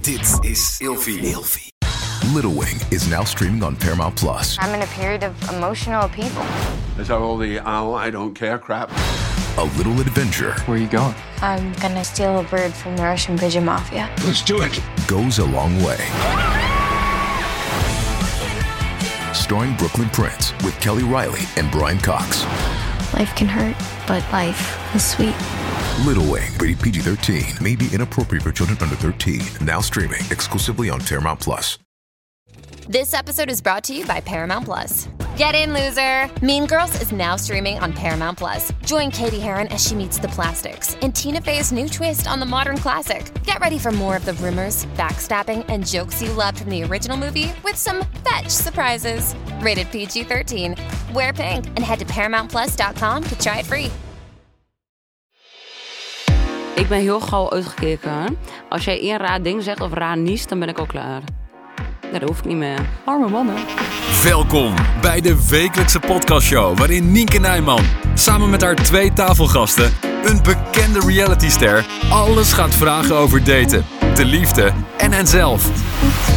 Dit is Ilfie. Little Wing is now streaming on Paramount Plus. I'm in a period of emotional upheaval. Is that all the oh, I don't care crap? A little adventure Where are you going? I'm gonna steal a bird from the Russian pigeon mafia. goes a long way. Starring Brooklyn Prince with Kelly Riley and Brian Cox. Life can hurt, but life is sweet. Little Wing, rated PG 13, may be inappropriate for children under 13. Now streaming exclusively on Paramount Plus. This episode is brought to you by Paramount Plus. Get in, loser! Mean Girls is now streaming on Paramount Plus. Join Katie Heron as she meets the plastics and Tina Fey's new twist on the modern classic. Get ready for more of the rumors, backstabbing, and jokes you loved from the original movie with some fetch surprises. Rated PG 13. Wear pink and head to ParamountPlus.com to try it free. Ik ben heel gauw uitgekeken. Als jij één raar ding zegt of raar niest, dan ben ik al klaar. Nee, dat hoef ik niet meer. Arme mannen. Welkom bij de wekelijkse podcastshow waarin Nienke Nijman samen met haar twee tafelgasten, een bekende realityster, alles gaat vragen over daten, de liefde en henzelf.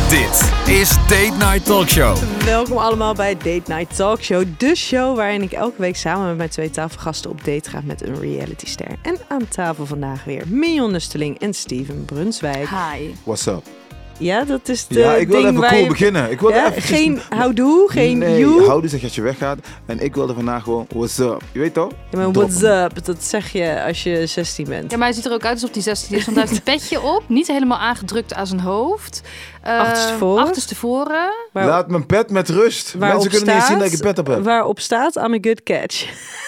Dit is Date Night Talkshow. Welkom allemaal bij Date Night Talk Show, de show waarin ik elke week samen met mijn twee tafelgasten op date ga met een realityster. En aan tafel vandaag weer Mion Nusteling en Steven Brunswijk. Hi. What's up? Ja, dat is de ja, ik wil ding even waar cool je- beginnen. Ik wil Ja, even geen houdoe, geen nee, you. Hou dus dat je weggaat. En ik wilde vandaag gewoon what's up. Je weet toch? Ja, maar Droppen. what's up, dat zeg je als je 16 bent. Ja, maar hij ziet er ook uit alsof hij 16 is, want hij heeft een petje op. Niet helemaal aangedrukt aan zijn hoofd. Eh, Achterstevoren. achterstevoren. Waar- Laat mijn pet met rust. waarop Mensen kunnen niet zien dat ik een staat- pet op heb. Waarop staat I'm a good catch.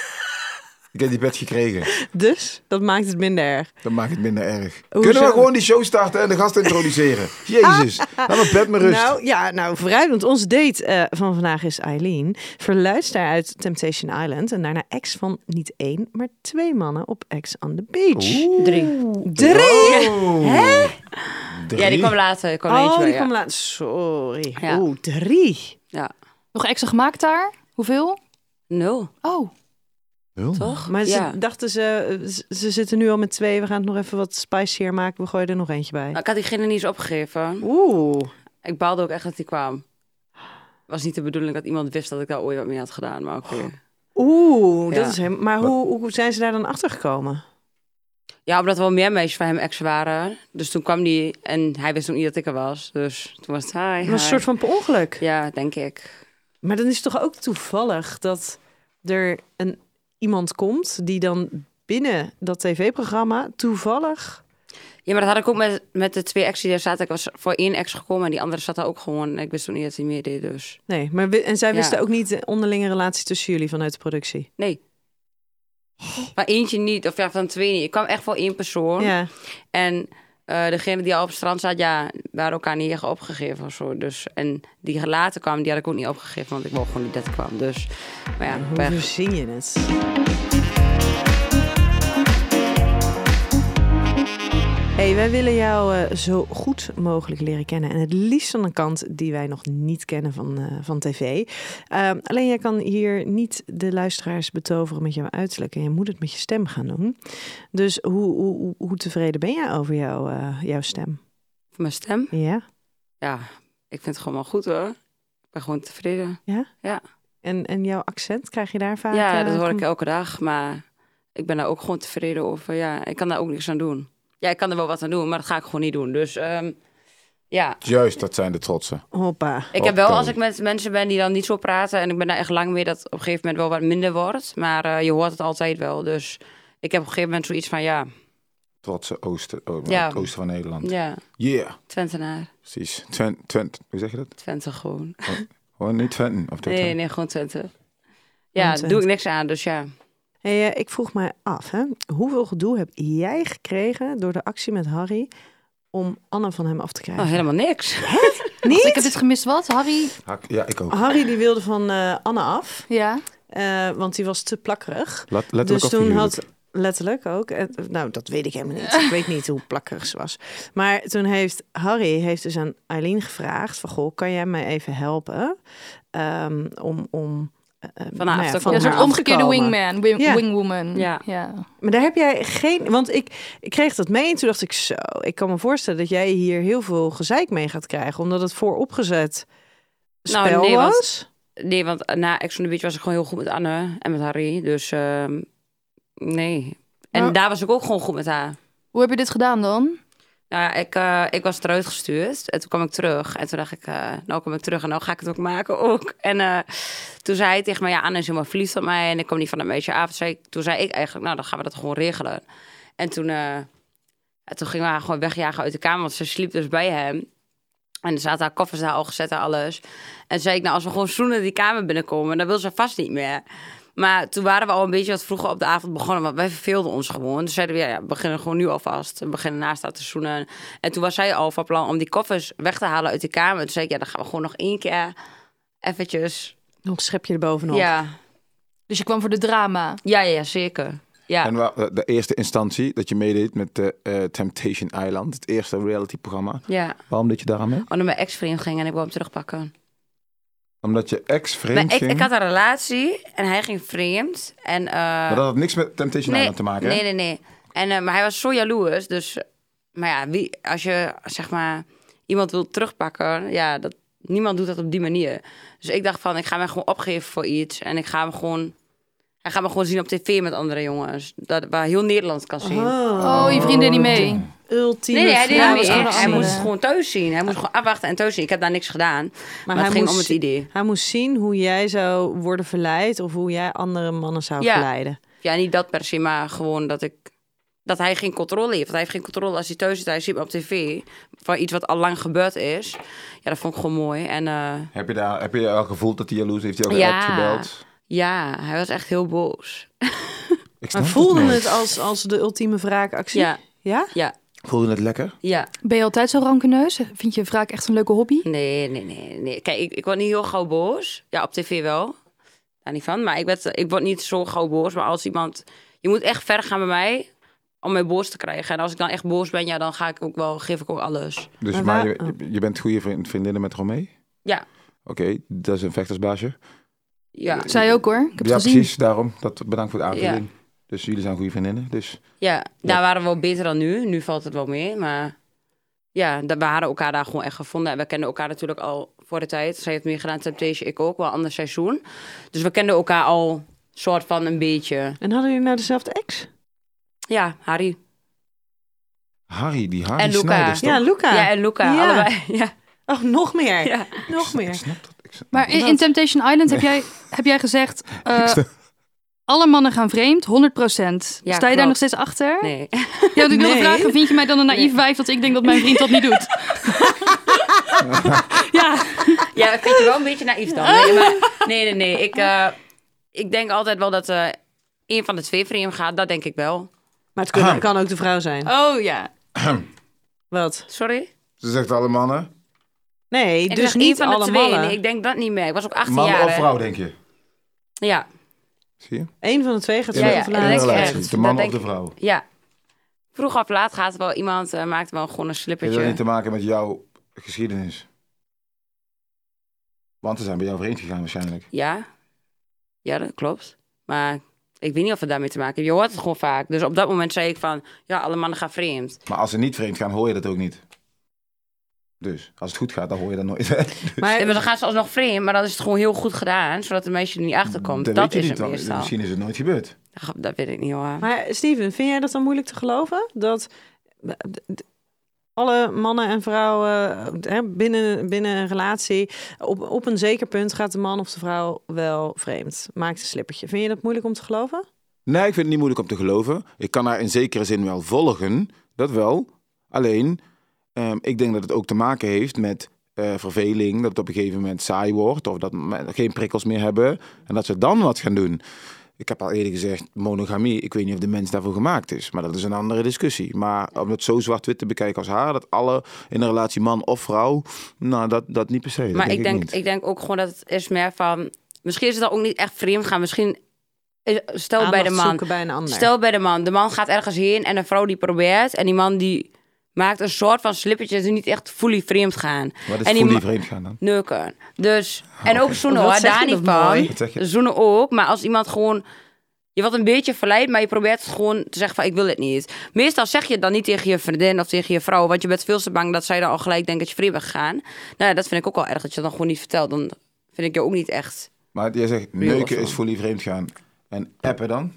Ik heb die pet gekregen. Dus dat maakt het minder erg. Dat maakt het minder erg. Hoezo? Kunnen we gewoon die show starten en de gasten introduceren? Jezus. Laat mijn pet met rust. Nou ja, nou vooruit, want ons date eh, van vandaag is Eileen. Verluister uit Temptation Island en daarna ex van niet één, maar twee mannen op ex on the beach. Drie. Drie! Oh, Hè? Ja, die kwam later. Ik kwam eentje Oh, bij, die ja. kwam laat. Sorry. Ja. Oeh, drie. Ja. Nog extra gemaakt daar? Hoeveel? Nul, Oh, toch? Maar ze ja. dachten ze, ze- ze zitten nu al met twee. We gaan het nog even wat spicier maken. We gooien er nog eentje bij. Nou, Ik had diegene niet eens opgegeven. Ah. Oeh. Ik baalde ook echt dat die kwam. Was niet de bedoeling dat iemand wist dat ik daar ooit wat mee had gedaan, maar oké. Oeh, dat Ja. is helemaal. Maar hoe, hoe zijn ze daar dan achter gekomen? Ja, omdat er wel meer meisjes van hem ex waren. Dus toen kwam die en hij wist ook niet dat ik er was. Dus toen was het hi, Het hi. was een soort van per ongeluk. Ja, denk ik. Maar dan is het toch ook toevallig dat er een, iemand komt die dan binnen dat tv-programma toevallig. Ja, maar dat had ik ook met, met de twee exen die daar zaten. Ik was voor één ex gekomen en die andere zat daar ook gewoon. En ik wist toen niet dat hij meer deed, dus... Nee, maar wi- en zij Ja. wisten ook niet de onderlinge relatie tussen jullie vanuit de productie. Nee. Maar eentje niet, of ja, van twee niet. Ik kwam echt voor één persoon. Ja, En eh, degene die al op het strand zat, ja, waren elkaar niet echt opgegeven of zo. Dus, en die later kwam, die had ik ook niet opgegeven, want ik wou gewoon niet dat ik kwam. Dus, maar ja, hoe weg. verzin je het? hey, wij willen jou eh, zo goed mogelijk leren kennen. En het liefst aan een kant die wij nog niet kennen van, eh, van tv. Ehm, alleen jij kan hier niet de luisteraars betoveren met jouw uiterlijk. En je moet het met je stem gaan doen. Dus hoe, hoe, hoe- hoe tevreden ben jij over jouw, eh, jouw stem? Mijn stem, Ja? ja, ik vind het gewoon wel goed hoor. Ik ben gewoon tevreden. En, en jouw accent krijg je daar vaak? ja, eh, dat hoor ik com- elke dag, maar ik ben daar ook gewoon tevreden over. Ja, ik kan daar ook niks aan doen. Ja, ik kan er wel wat aan doen, maar dat ga ik gewoon niet doen. Dus ehm, ja, Juist, dat zijn de trotsen. Hoppa. Ik heb wel, Oké. als ik met mensen ben die dan niet zo praten... en ik ben daar echt lang mee, dat op een gegeven moment wel wat minder wordt. Maar eh, je hoort het altijd wel. Dus ik heb op een gegeven moment zoiets van, ja, Trotsen oosten, oh, Ja. het oosten van Nederland. ja Yeah, Twentenaar, precies. Twent, Twent, hoe zeg je dat? Twente gewoon. Gewoon niet Twenten. Of de Nee, Twenten. nee, gewoon Twente. Gewoon Ja, Twente. doe ik niks aan, dus ja. Hey, eh, ik vroeg mij af, hè, hoeveel gedoe heb jij gekregen door de actie met Harry om Anne van hem af te krijgen? Oh, helemaal niks. Niet? dus ik heb dit gemist. Wat? Harry? Hak- Ja, ik ook. Harry die wilde van eh, Anne af, Ja. eh, want die was te plakkerig. Let, letterlijk dus of toen figuurlijk? had letterlijk ook. En, nou, dat weet ik helemaal niet. Ik weet niet hoe plakkerig ze was. Maar toen heeft Harry heeft dus aan Eileen gevraagd: van goh, kan jij mij even helpen Ehm, om, om eh, Van nou haar ja, afstand- van Ja, een soort haar omgekeerde afkomen. wingman, wing- Ja. wingwoman. Ja. Maar daar heb jij geen... Want ik, ik kreeg dat mee en toen dacht ik zo... Ik kan me voorstellen dat jij hier heel veel gezeik mee gaat krijgen. Omdat het vooropgezet Nou, spel nee, want- was. Nee, want eh, na Ex on the Beach was ik gewoon heel goed met Anne en met Harry. Dus ehm, nee. En Maar- daar was ik ook gewoon goed met haar. Hoe heb je dit gedaan dan? Nou, ja, ik, eh, ik was eruit gestuurd en toen kwam ik terug. En toen dacht ik, eh, nou kom ik terug en nou ga ik het ook maken ook. En eh, toen zei hij tegen mij, ja, Anne is helemaal verliefd op mij en ik kom niet van een meisje af. Toen zei, ik- toen zei ik eigenlijk, nou, dan gaan we dat gewoon regelen. En toen, eh, en toen gingen we haar gewoon wegjagen uit de kamer, want ze sliep dus bij hem. En er zaten haar koffers daar al gezet en alles. En zei ik, nou, als we gewoon zoenen die kamer binnenkomen, dan wil ze vast niet meer. Maar toen waren we al een beetje wat vroeger op de avond begonnen, want wij verveelden ons gewoon. Toen zeiden we, ja, ja we beginnen gewoon nu alvast. We beginnen naast haar te zoenen. En toen was zij al van plan om die koffers weg te halen uit de kamer. Toen zei ik, ja, dan gaan we gewoon nog één keer eventjes. Nog een schepje erbovenop. Ja. Dus je kwam voor de drama. ja, ja, zeker. Ja. En wa- de eerste instantie dat je meedeed met eh, eh, Temptation Island, het eerste realityprogramma. ja. Waarom deed je daar aan mee? Omdat mijn ex-vriend ging en ik wou hem terugpakken. Omdat je Maar ex-vreemd ik, ging. ik had een relatie en hij ging vreemd. En, eh, Maar dat had niks met Temptation nee, Island te maken. hè? Nee, nee, nee. En, eh, maar hij was zo jaloers. Dus, maar ja, wie, als je zeg maar iemand wilt terugpakken, ja, dat, niemand doet dat op die manier. Dus ik dacht van, ik ga me gewoon opgeven voor iets. En ik ga hem gewoon, hij gaat me gewoon zien op tv met andere jongens. Dat, waar heel Nederland kan zien. Oh, je vriendin niet mee. Ultieme Nee, nee, hij deed Ja, dat niet mee. was Hij, gewoon hij een moest het andere. gewoon thuis zien. Hij moest gewoon afwachten en thuis zien. Ik heb daar niks gedaan. Maar, Maar het hij ging om moest- het idee. Hij moest zien hoe jij zou worden verleid of hoe jij andere mannen zou Ja. verleiden. Ja, niet dat per se, maar gewoon dat ik. Dat hij geen controle heeft. Want hij heeft geen controle als hij thuis zit. Hij ziet me op tv. Van iets wat al lang gebeurd is. Ja, dat vond ik gewoon mooi. En eh, Heb je daar heb je al gevoeld dat hij jaloers heeft? Heeft hij ook Ja. gebeld? ja, hij was echt heel boos. Ik snap Maar voelde niet. het als, als de ultieme wraakactie? Ja, Ja? ja, Voelde het lekker? ja. Ben je altijd zo rankeneus? Vind je wraak echt een leuke hobby? Mm. Nee, nee, nee. nee. Kijk, ik, ik word niet heel gauw boos. Ja, op tv wel. Daar niet van. Maar ik, werd, ik word niet zo gauw boos. Maar als iemand... Je moet echt ver gaan bij mij om mij boos te krijgen. En als ik dan echt boos ben, ja, dan ga ik ook wel, geef ik ook alles. Dus, Maar maar, waar- je, je bent goede vriend, vriendinnen met Romee? Ja, Oké, dat is een vechtersbaasje. ja, Zij ook hoor. Ik heb ja, het gezien. precies. Daarom. Dat, bedankt voor de aanvulling. Dus jullie zijn goede vriendinnen. Dus Ja, daar waren we wel beter dan nu. Nu valt het wel mee, maar ja, dat- we hadden elkaar daar gewoon echt gevonden. En we kenden elkaar natuurlijk al voor de tijd. Zij heeft meer gedaan Temptation, ik ook, wel een ander seizoen. Dus we kenden elkaar al soort van een beetje. En hadden jullie nou dezelfde ex? Ja, Harry. Harry, die Harry En Luca. Snijders, toch? Ja, Luca. Ja, en Luca, Ja. allebei. Ja, Oh, nog meer. ja. Nog Ik meer. snap dat. Ik snap Maar in, in Temptation Island heb, jij, heb jij gezegd... eh, alle mannen gaan vreemd, 100%. Sta je klopt. daar nog steeds achter? Nee. Ja, want ik wilde Nee. vragen, vind je mij dan een naïef wijf dat ik denk dat mijn vriend dat niet doet? ja, Ja, ik vind je wel een beetje naïef dan. Nee, maar- nee, nee. nee. Ik, eh, ik denk altijd wel dat eh een van de twee vreemd gaat. Dat denk ik wel. Maar het kan, kan ook de vrouw zijn. oh ja. Wat? Sorry? Ze zegt alle mannen. Nee, Ik dus dacht niet één van alle de twee. mannen. Nee, ik denk dat niet meer. Ik was ook 18 Man jaar. of hè. vrouw, denk je? Ja. Zie je? Eén van de twee gaat Ja, ja, ja, In dat een is relatie. echt. De man Dat of de denk ik. vrouw. Ja. Vroeg of laat gaat wel iemand, eh, maakt wel gewoon een Heeft dat slippertje. niet te maken met jouw geschiedenis? Want ze zijn bij jou vreemd gegaan waarschijnlijk. Ja. Ja, dat klopt. Maar ik weet niet of het daarmee te maken heeft. Je hoort het gewoon vaak. Dus op dat moment zei ik van, ja, alle mannen gaan vreemd. Maar als ze niet vreemd gaan, hoor je dat ook niet. Dus, als het goed gaat, dan hoor je dat nooit. Dus, En Maar dan gaan ze alsnog vreemd, maar dan is het gewoon heel goed gedaan, zodat de meisje er niet achterkomt. dan weet Dat, je is niet, het dan- meestal. Misschien is het nooit gebeurd. Ach, Dat weet ik niet hoor. Maar Steven, vind jij dat dan moeilijk te geloven? Dat d- alle mannen en vrouwen eh, hè, binnen, binnen een relatie... Op, op een zeker punt gaat de man of de vrouw wel vreemd. Maakt een slippertje. Vind je dat moeilijk om te geloven? Nee, ik vind het niet moeilijk om te geloven. Ik kan haar in zekere zin wel volgen, dat wel. Alleen, ehm, ik denk dat het ook te maken heeft met eh, verveling, dat het op een gegeven moment saai wordt of dat men geen prikkels meer hebben en dat ze dan wat gaan doen. Ik heb al eerder gezegd, monogamie, ik weet niet of de mens daarvoor gemaakt is, maar dat is een andere discussie. Maar om het zo zwart-wit te bekijken als haar, dat alle in een relatie man of vrouw, nou, dat, dat niet per se. Dat Maar denk ik denk, niet. ik denk ook gewoon dat het is meer van... Misschien is het dan ook niet echt vreemd gaan. Misschien, is- stel bij de Aandacht man... zoeken bij een ander. Stel bij de man. De man gaat ergens heen en een vrouw die probeert. En die man die maakt een soort van slippertje dat ze niet echt fully vreemd gaan. Wat is en die fully ma- vreemd gaan dan? Neuken. Dus, Ah, en ook zoenen Wat hoor, zeg je daar niet dat mooi. van. Wat zeg je? Zoenen ook, maar als iemand gewoon... Je wordt een beetje verleid, maar je probeert het gewoon te zeggen van ik wil het niet. Meestal zeg je het dan niet tegen je vriendin of tegen je vrouw, want je bent veel te bang dat zij dan al gelijk denkt dat je vreemd bent gegaan. Nou ja, dat vind ik ook al erg, dat je dat dan gewoon niet vertelt. Dan vind ik je ook niet echt... Maar jij zegt, Real of neuken zo. is fully vreemd gaan. En appen dan?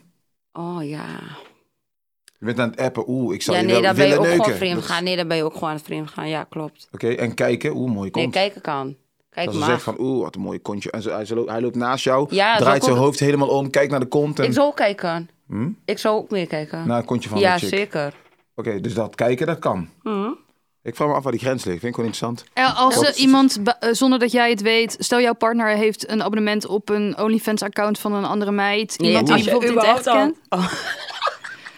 Oh ja. Je bent aan het appen, oeh, ik zou Ja, je nee, wel daar ben willen je ook neuken. gewoon vreemd Dat is- gaan. Nee, daar ben je ook gewoon aan het vreemd gaan. Ja, klopt. Oké, en kijken, oeh, mooie kont. Nee, kijken kan. Kijk dat ze maar. zegt van, oeh, wat een mooie kontje. En ze, hij, ze loopt, hij loopt naast jou, Ja, zo draait zijn komt- hoofd helemaal om, kijkt naar de kont en Ik zou ook kijken. Ik zou ook meer kijken. naar het kontje van ja, de Hm? Nou, chick. zeker. Oké, dus dat kijken, dat kan. Ik vraag me af waar die grens ligt. Vind ik wel interessant. Eh, Als Ja. eh, iemand, ba- eh, zonder dat jij het weet, stel jouw partner heeft een abonnement op een OnlyFans-account van een andere meid. Nee, iemand als die je je bijvoorbeeld niet echt überhaupt Oh. kent.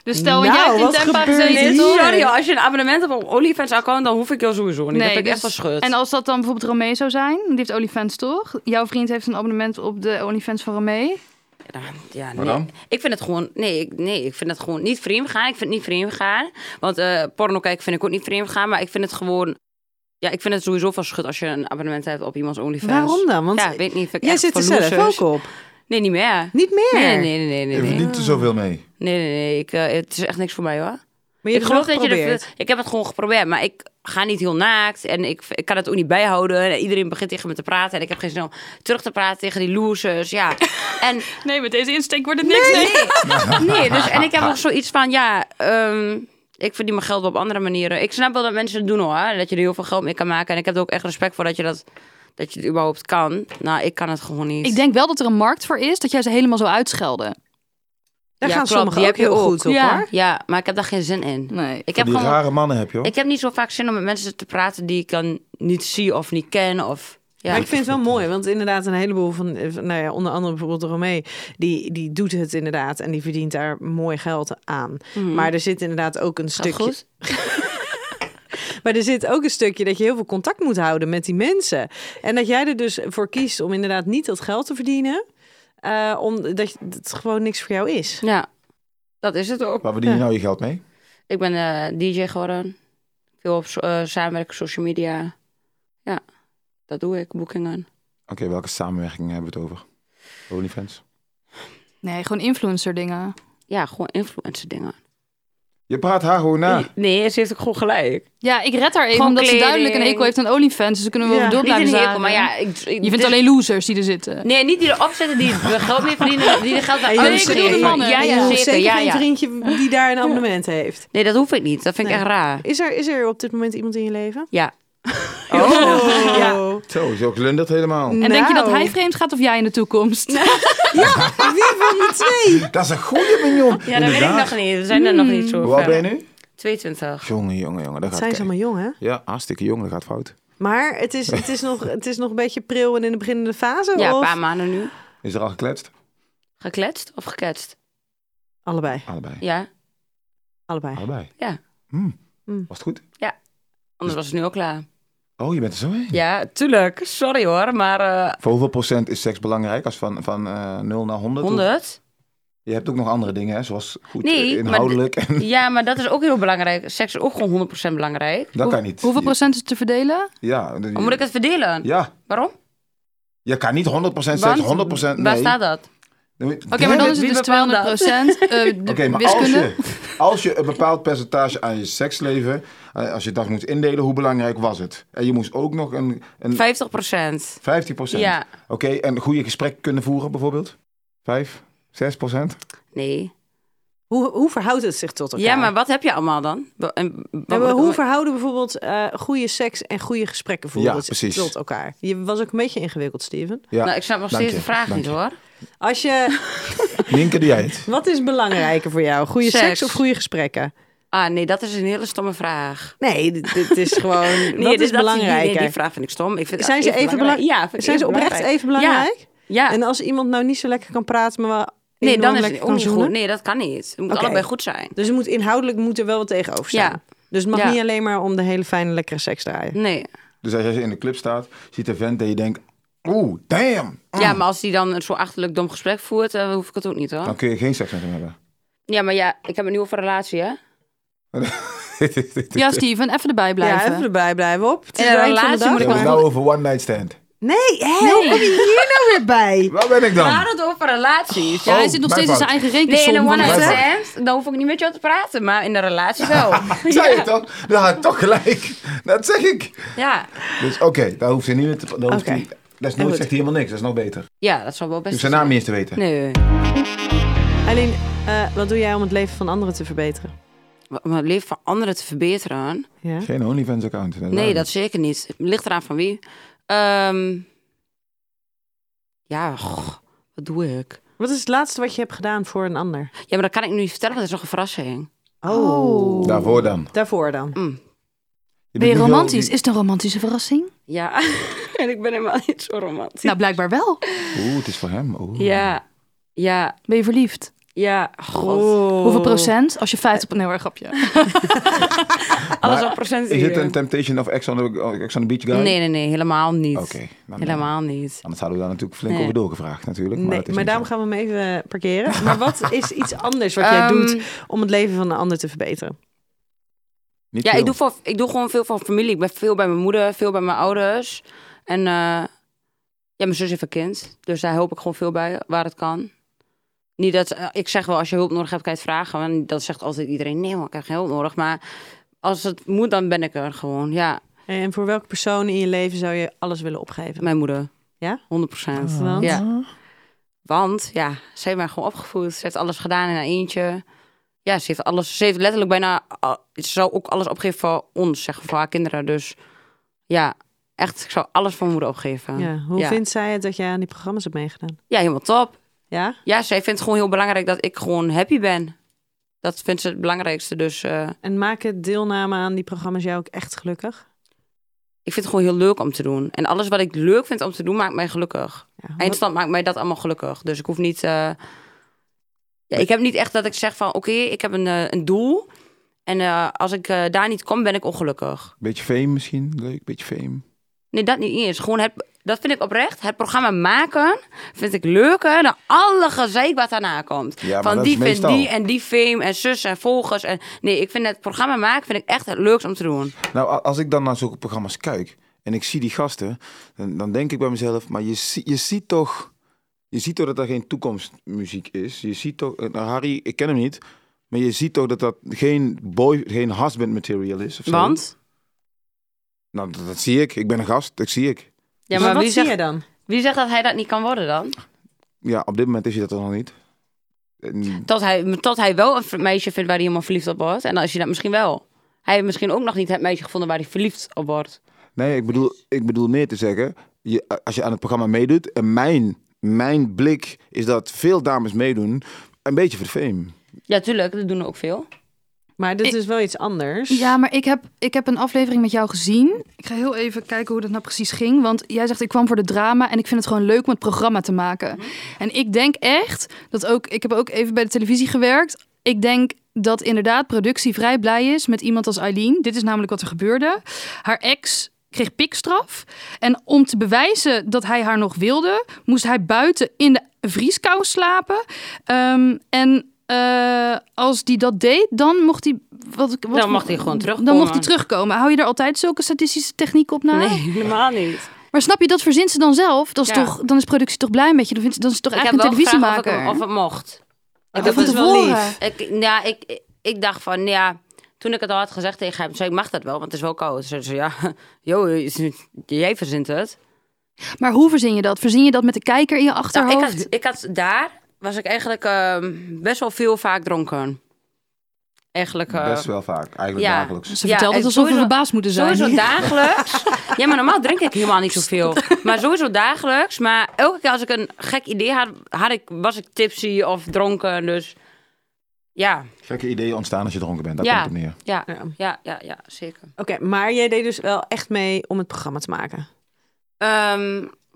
Dus stel, Nou, jij hebt wat in Tampa gebeurt gezeten, hier? toch? Sorry, als je een abonnement hebt op OnlyFans account, dan hoef ik jou sowieso niet. dat vind ik dus- echt wel schut. En als dat dan bijvoorbeeld Romee zou zijn, die heeft OnlyFans toch? Jouw vriend heeft een abonnement op de OnlyFans van Romee. Nou, ja, Maar nee. dan? Ik vind het gewoon, nee, ik, nee, ik vind het gewoon niet vreemd gaan. Ik vind het niet vreemd gaan. Want eh, porno kijken vind ik ook niet vreemd gaan. Maar ik vind het gewoon, ja, ik vind het sowieso van schut als je een abonnement hebt op iemands OnlyFans. Waarom dan? Want ja, weet niet. Vind ik jij echt zit er voor zelf losers. ook op. Nee, niet meer. Niet meer. Nee, nee, nee, nee, Je nee. Nee, nee, verdient er zoveel mee. nee, nee. Ik, eh, het is echt niks voor mij hoor. Maar je ik geloof dat je probeert. dat- Ik heb het gewoon geprobeerd, maar ik ga niet heel naakt en ik, ik kan het ook niet bijhouden. En iedereen begint tegen me te praten en ik heb geen zin om terug te praten tegen die losers. Ja. En Nee, met deze insteek wordt het niks. Nee. nee, dus en ik heb ook zoiets van ja. ehm, ik verdien mijn geld wel op andere manieren. Ik snap wel dat mensen het doen hoor. en Dat je er heel veel geld mee kan maken. En ik heb er ook echt respect voor dat je dat, dat je het überhaupt kan. Nou, ik kan het gewoon niet. Ik denk wel dat er een markt voor is dat jij ze helemaal zou uitschelden. Daar Ja, gaan klopt, sommigen die ook heb je heel ook. goed op Ja. hoor. Ja, maar ik heb daar geen zin in. Nee. Ik heb die gewoon rare mannen heb je hoor. Ik heb niet zo vaak zin om met mensen te praten die ik dan niet zie of niet ken. Of, ja. Maar ik vind het wel mooi, want inderdaad een heleboel van, eh, van- nou ja, onder andere bijvoorbeeld Romee, die, die doet het inderdaad en die verdient daar mooi geld aan. Maar er zit inderdaad ook een Gaat stukje, goed? maar er zit ook een stukje dat je heel veel contact moet houden met die mensen. En dat jij er dus voor kiest om inderdaad niet dat geld te verdienen, eh, omdat je- dat het gewoon niks voor jou is. Ja, dat is het ook. Waar verdien je nou je geld mee? Ik ben eh, DJ geworden. Veel op so- eh, samenwerken, social media. Ja, dat doe ik, boekingen. Oké, welke samenwerking hebben we het over? OnlyFans. Nee, gewoon influencer dingen. Ja, gewoon influencer dingen. Je praat haar gewoon na. Nee, ze heeft ook gewoon gelijk. Ja, ik red haar even, Gewoon omdat ze kleding. duidelijk een eco heeft aan OnlyFans. Dus daar kunnen we Ja. over door Niet in blijven de hekel, zagen. maar ja. dus- Ik, ik- Je vindt dit- alleen losers die er zitten. Nee, niet die erop zitten, die er geld mee verdienen, die er geld aan En je nee, uitgeven. ik bedoel de mannen. Ja, En je ja, hoeft zeker. zeker ja, geen ja. vriendje die daar een abonnement heeft. Nee, dat hoef ik niet. Dat vind ik Nee. echt raar. Is er, is er op dit moment iemand in je leven? Ja. Oh, ja. Zo, zo glundert helemaal. En denk je dat Nou. hij vreemd gaat of jij in de toekomst? Wie van de twee? Dat is een goede mignon. Ja, dat weet ik nog niet. We zijn er nog niet zo Hoe oud ben je nu? 22. Jongen, jongen, jongen. Dat gaat Zijn ze kei- allemaal jong, hè? Ja, hartstikke jong. Dat gaat fout. Maar het is, het is, nog, het is nog een beetje pril en in de beginnende fase? Ja, een of? paar maanden nu. Is er al gekletst? Gekletst of geketst? Allebei. Allebei. Ja, Allebei. Allebei. Ja. Hmm. Hmm. Was het goed? anders was het nu al klaar. Oh, je bent er zo heen. Ja, tuurlijk. Sorry hoor, maar eh, Voor hoeveel procent is seks belangrijk? Als van, van eh 0 naar 100? Of- 100? Je hebt ook nog andere dingen, hè? zoals goed Nee, eh, maar inhoudelijk. En, Ja, maar dat is ook heel belangrijk. Seks is ook gewoon 100% belangrijk. dat kan niet. Hoeveel Je- procent is te verdelen? Ja, de- Maar moet ik het verdelen? ja, Waarom? je kan niet 100% seks, Want- 100% nee. Waar staat dat? Oké, Oké, maar dan is Wie het dus bepaalt dat? 200 procent. Oké, maar als wiskunde. je, als je een bepaald percentage aan je seksleven, eh, als je dat moet indelen, hoe belangrijk was het? En je moest ook nog een, een 50%. 15 procent. Ja. Oké, en goede gesprek kunnen voeren bijvoorbeeld? 5, 6 procent? Nee. Hoe, hoe verhoudt het zich tot elkaar? Ja, maar wat heb je allemaal dan? Wa- en wat Ja, maar moet ik- hoe verhouden bijvoorbeeld eh, goede seks en goede gesprekken voeren Ja, het precies. tot elkaar? Je was ook een beetje ingewikkeld, Steven. Ja. Nou, ik snap nog Dank steeds je, de vraag dank niet je. hoor. Als je, Nienke, doe jij het? wat is belangrijker voor jou? Goede seks. Seks. of goede gesprekken? Ah nee, dat is een hele stomme vraag. Nee, dit, dit is gewoon. Nee, wat dit- is dat belangrijker? Nee, die vraag vind ik stom. Ik vind zijn ze even belangrijk? Ja, vind ik zijn ze even oprecht even belangrijk? Ja. En als iemand nou niet zo lekker kan praten, maar wel Nee, enorm dan is het lekker kan ook niet zoenen? goed. Nee, dat kan niet. Het moet Oké. allebei goed zijn. Dus het moet inhoudelijk moet er wel wat tegenover staan. Ja. Dus het mag Ja. niet alleen maar om de hele fijne, lekkere seks draaien. Nee. Dus als je in de club staat, ziet een vent en je denkt, oeh, damn. Ja, Ah. maar als die dan een zo achterlijk dom gesprek voert, eh, dan hoef ik het ook niet hoor. Dan kun je geen seks met hem hebben. Ja, maar ja, ik heb een nieuwe relatie hè. Ja, Steven, even erbij blijven. Ja, even erbij blijven op. Het In is een het eind van de relatie dag. moet ik We hebben maar- het nou over one night stand. Nee, hé, hoe kom je hier nou weer bij? Waar ben ik Waar dan? het over relaties. Ja, hij Oh, zit nog mijn steeds in fout. zijn eigen Nee, rekensom. in een van- one-night Blijf stand, dan hoef ik niet met jou te praten. Maar in de relatie wel. Zei je toch? Dan had ik toch gelijk. Dat zeg ik. ja. Dus oké, daar hoeft ze niet meer te... Daar hoeft Oké. hij- Desnoods goed. zegt hij helemaal niks. Dat is nog beter. Je ja, dat zou wel best hoeft zijn naam niet eens te weten. Nee. Eileen, eh, wat doe jij om het leven van anderen te verbeteren? Om het leven van anderen te verbeteren. Ja? Geen OnlyFans-account. Nee, dat zeker niet. Ligt eraan van wie. Ehm, ja, goh, wat doe ik? Wat is het laatste wat je hebt gedaan voor een ander? Ja, maar dat kan ik nu niet vertellen, want dat is nog een verrassing. Oh. Daarvoor dan. Daarvoor dan. Je Ben je bent niet romantisch? zo- Is het een romantische verrassing? Ja, en ik ben helemaal niet zo romantisch. Nou, blijkbaar wel. Oeh, het is voor hem. Oeh. ja, ja, Ben je verliefd? ja, god. Oh. Hoeveel procent? Als je 50... Nee hoor, grapje. Alles Maar op procent Is dit hier. een Temptation of Ex on the, Ex on the Beach guy? Nee, nee, nee, helemaal niet. Oké. nou, nee. Helemaal niet. Anders hadden we daar natuurlijk flink Nee. over doorgevraagd natuurlijk. Maar, Nee, Oh, dat is maar niet daarom zo. gaan we hem even eh, parkeren. Maar wat is iets anders wat jij Ehm, doet om het leven van een ander te verbeteren? Niet Ja, veel. ik doe, voor, ik doe gewoon veel van familie. Ik ben veel bij mijn moeder, veel bij mijn ouders. En eh, ja, mijn zus heeft een kind. Dus daar help ik gewoon veel bij, waar het kan. Niet dat, eh, ik zeg wel, als je hulp nodig hebt, kan je het vragen. Want dat zegt altijd iedereen, nee hoor, ik heb geen hulp nodig. Maar als het moet, dan ben ik er gewoon. Ja, En voor welke persoon in je leven zou je alles willen opgeven? mijn moeder. Ja? 100 procent. Want? Ja. Want, ja, ze heeft mij gewoon opgevoed. Ze heeft alles gedaan in haar eentje. Ja, ze heeft alles, ze heeft letterlijk bijna, al- ze zou ook alles opgeven voor ons, zeg, voor haar kinderen. Dus ja, echt, ik zou alles voor mijn moeder opgeven. Ja, hoe ja. vindt zij het dat jij aan die programma's hebt meegedaan? Ja, helemaal top. Ja? Ja, zij vindt het gewoon heel belangrijk dat ik gewoon happy ben. Dat vindt ze het belangrijkste. Dus eh, En maken deelname aan die programma's jou ook echt gelukkig? ik vind het gewoon heel leuk om te doen. En alles wat ik leuk vind om te doen, maakt mij gelukkig. Ja, wat- Eindstand maakt mij dat allemaal gelukkig. Dus ik hoef niet. eh, ja, ik heb niet echt dat ik zeg van oké, ik heb een, eh, een doel. En eh, als ik eh, daar niet kom, ben ik ongelukkig. Beetje fame misschien. Leuk, beetje fame. Nee, dat niet eens. Gewoon het, dat vind ik oprecht. Het programma maken vind ik leuker dan alle gezeik wat daarna komt. Ja, maar van dat die is vindt meestal. die en die fame en zus en volgers. En, nee, ik vind het programma maken vind ik echt het leukst om te doen. Nou, a- als ik dan naar zulke programma's kijk en ik zie die gasten, dan, dan denk ik bij mezelf, maar je, zie- je ziet toch... Je ziet toch dat er geen toekomstmuziek is. Je ziet toch... eh, Nou, Harry, ik ken hem niet. Maar je ziet toch dat dat geen boy, geen husband material is. Of zo. Want? Nou, dat, dat zie ik. Ik ben een gast. Dat zie ik. Ja, maar maar wat wie zie je zegt, dan? wie zegt dat hij dat niet kan worden dan? Ja, op dit moment is hij dat er nog niet. En- Tot hij, tot hij wel een v- meisje vindt waar hij helemaal verliefd op wordt. En dan is hij dat misschien wel. Hij heeft misschien ook nog niet het meisje gevonden waar hij verliefd op wordt. Nee, ik bedoel, ik bedoel meer te zeggen. Je, als je aan het programma meedoet, en mijn, mijn blik is dat veel dames meedoen, een beetje voor de fame. Ja, tuurlijk, dat doen er ook veel. Maar dit Ik- is wel iets anders. Ja, maar ik heb, ik heb een aflevering met jou gezien. Ik ga heel even kijken hoe dat nou precies ging. Want jij zegt, ik kwam voor de drama en ik vind het gewoon leuk om het programma te maken. En ik denk echt dat ook, ik heb ook even bij de televisie gewerkt. Ik denk dat inderdaad productie vrij blij is met iemand als Eileen. Dit is namelijk wat er gebeurde. Haar ex kreeg pikstraf. En om te bewijzen dat hij haar nog wilde, moest hij buiten in de vrieskou slapen. Ehm, en eh, als die dat deed, dan mocht hij. Wat, wat, Dan mag hij gewoon terugkomen. Dan mocht hij terugkomen. Hou je daar altijd zulke statistische techniek op Ah. na? helemaal niet. Maar snap je, dat verzint ze dan zelf. Dat is Ja. toch, dan is productie toch blij met je. Dan, vindt, dan is het toch ik heb eigenlijk wel een gevraagd of televisiemaker. het, of het mocht. Oh, heb dat het is wel tevoren. lief. Ik, ja, ik, ik dacht van, ja, toen ik het al had gezegd tegen hem, zei ik, mag dat wel, want het is wel koud. Ze zei, ja, joh, jij verzint het. Maar hoe verzin je dat? Verzin je dat met de kijker in je Nou, achterhoofd? ik, had, ik had daar, was ik eigenlijk ehm, best wel veel vaak dronken. Eigenlijk, eh, Best wel vaak, eigenlijk ja. dagelijks. Ze Ja, vertelt het en alsof we sowieso- verbaasd moeten zijn. Sowieso dagelijks. Ja, maar normaal drink ik helemaal niet zoveel. Maar sowieso dagelijks. Maar elke keer als ik een gek idee had, had ik, was ik tipsy of dronken. Dus ja, Gekke ideeën ontstaan als je dronken bent, daar Ja. komt het op neer. ja, Ja. ja, ja, ja zeker. Oké, maar jij deed dus wel echt mee om het programma te maken. Ehm, je ja,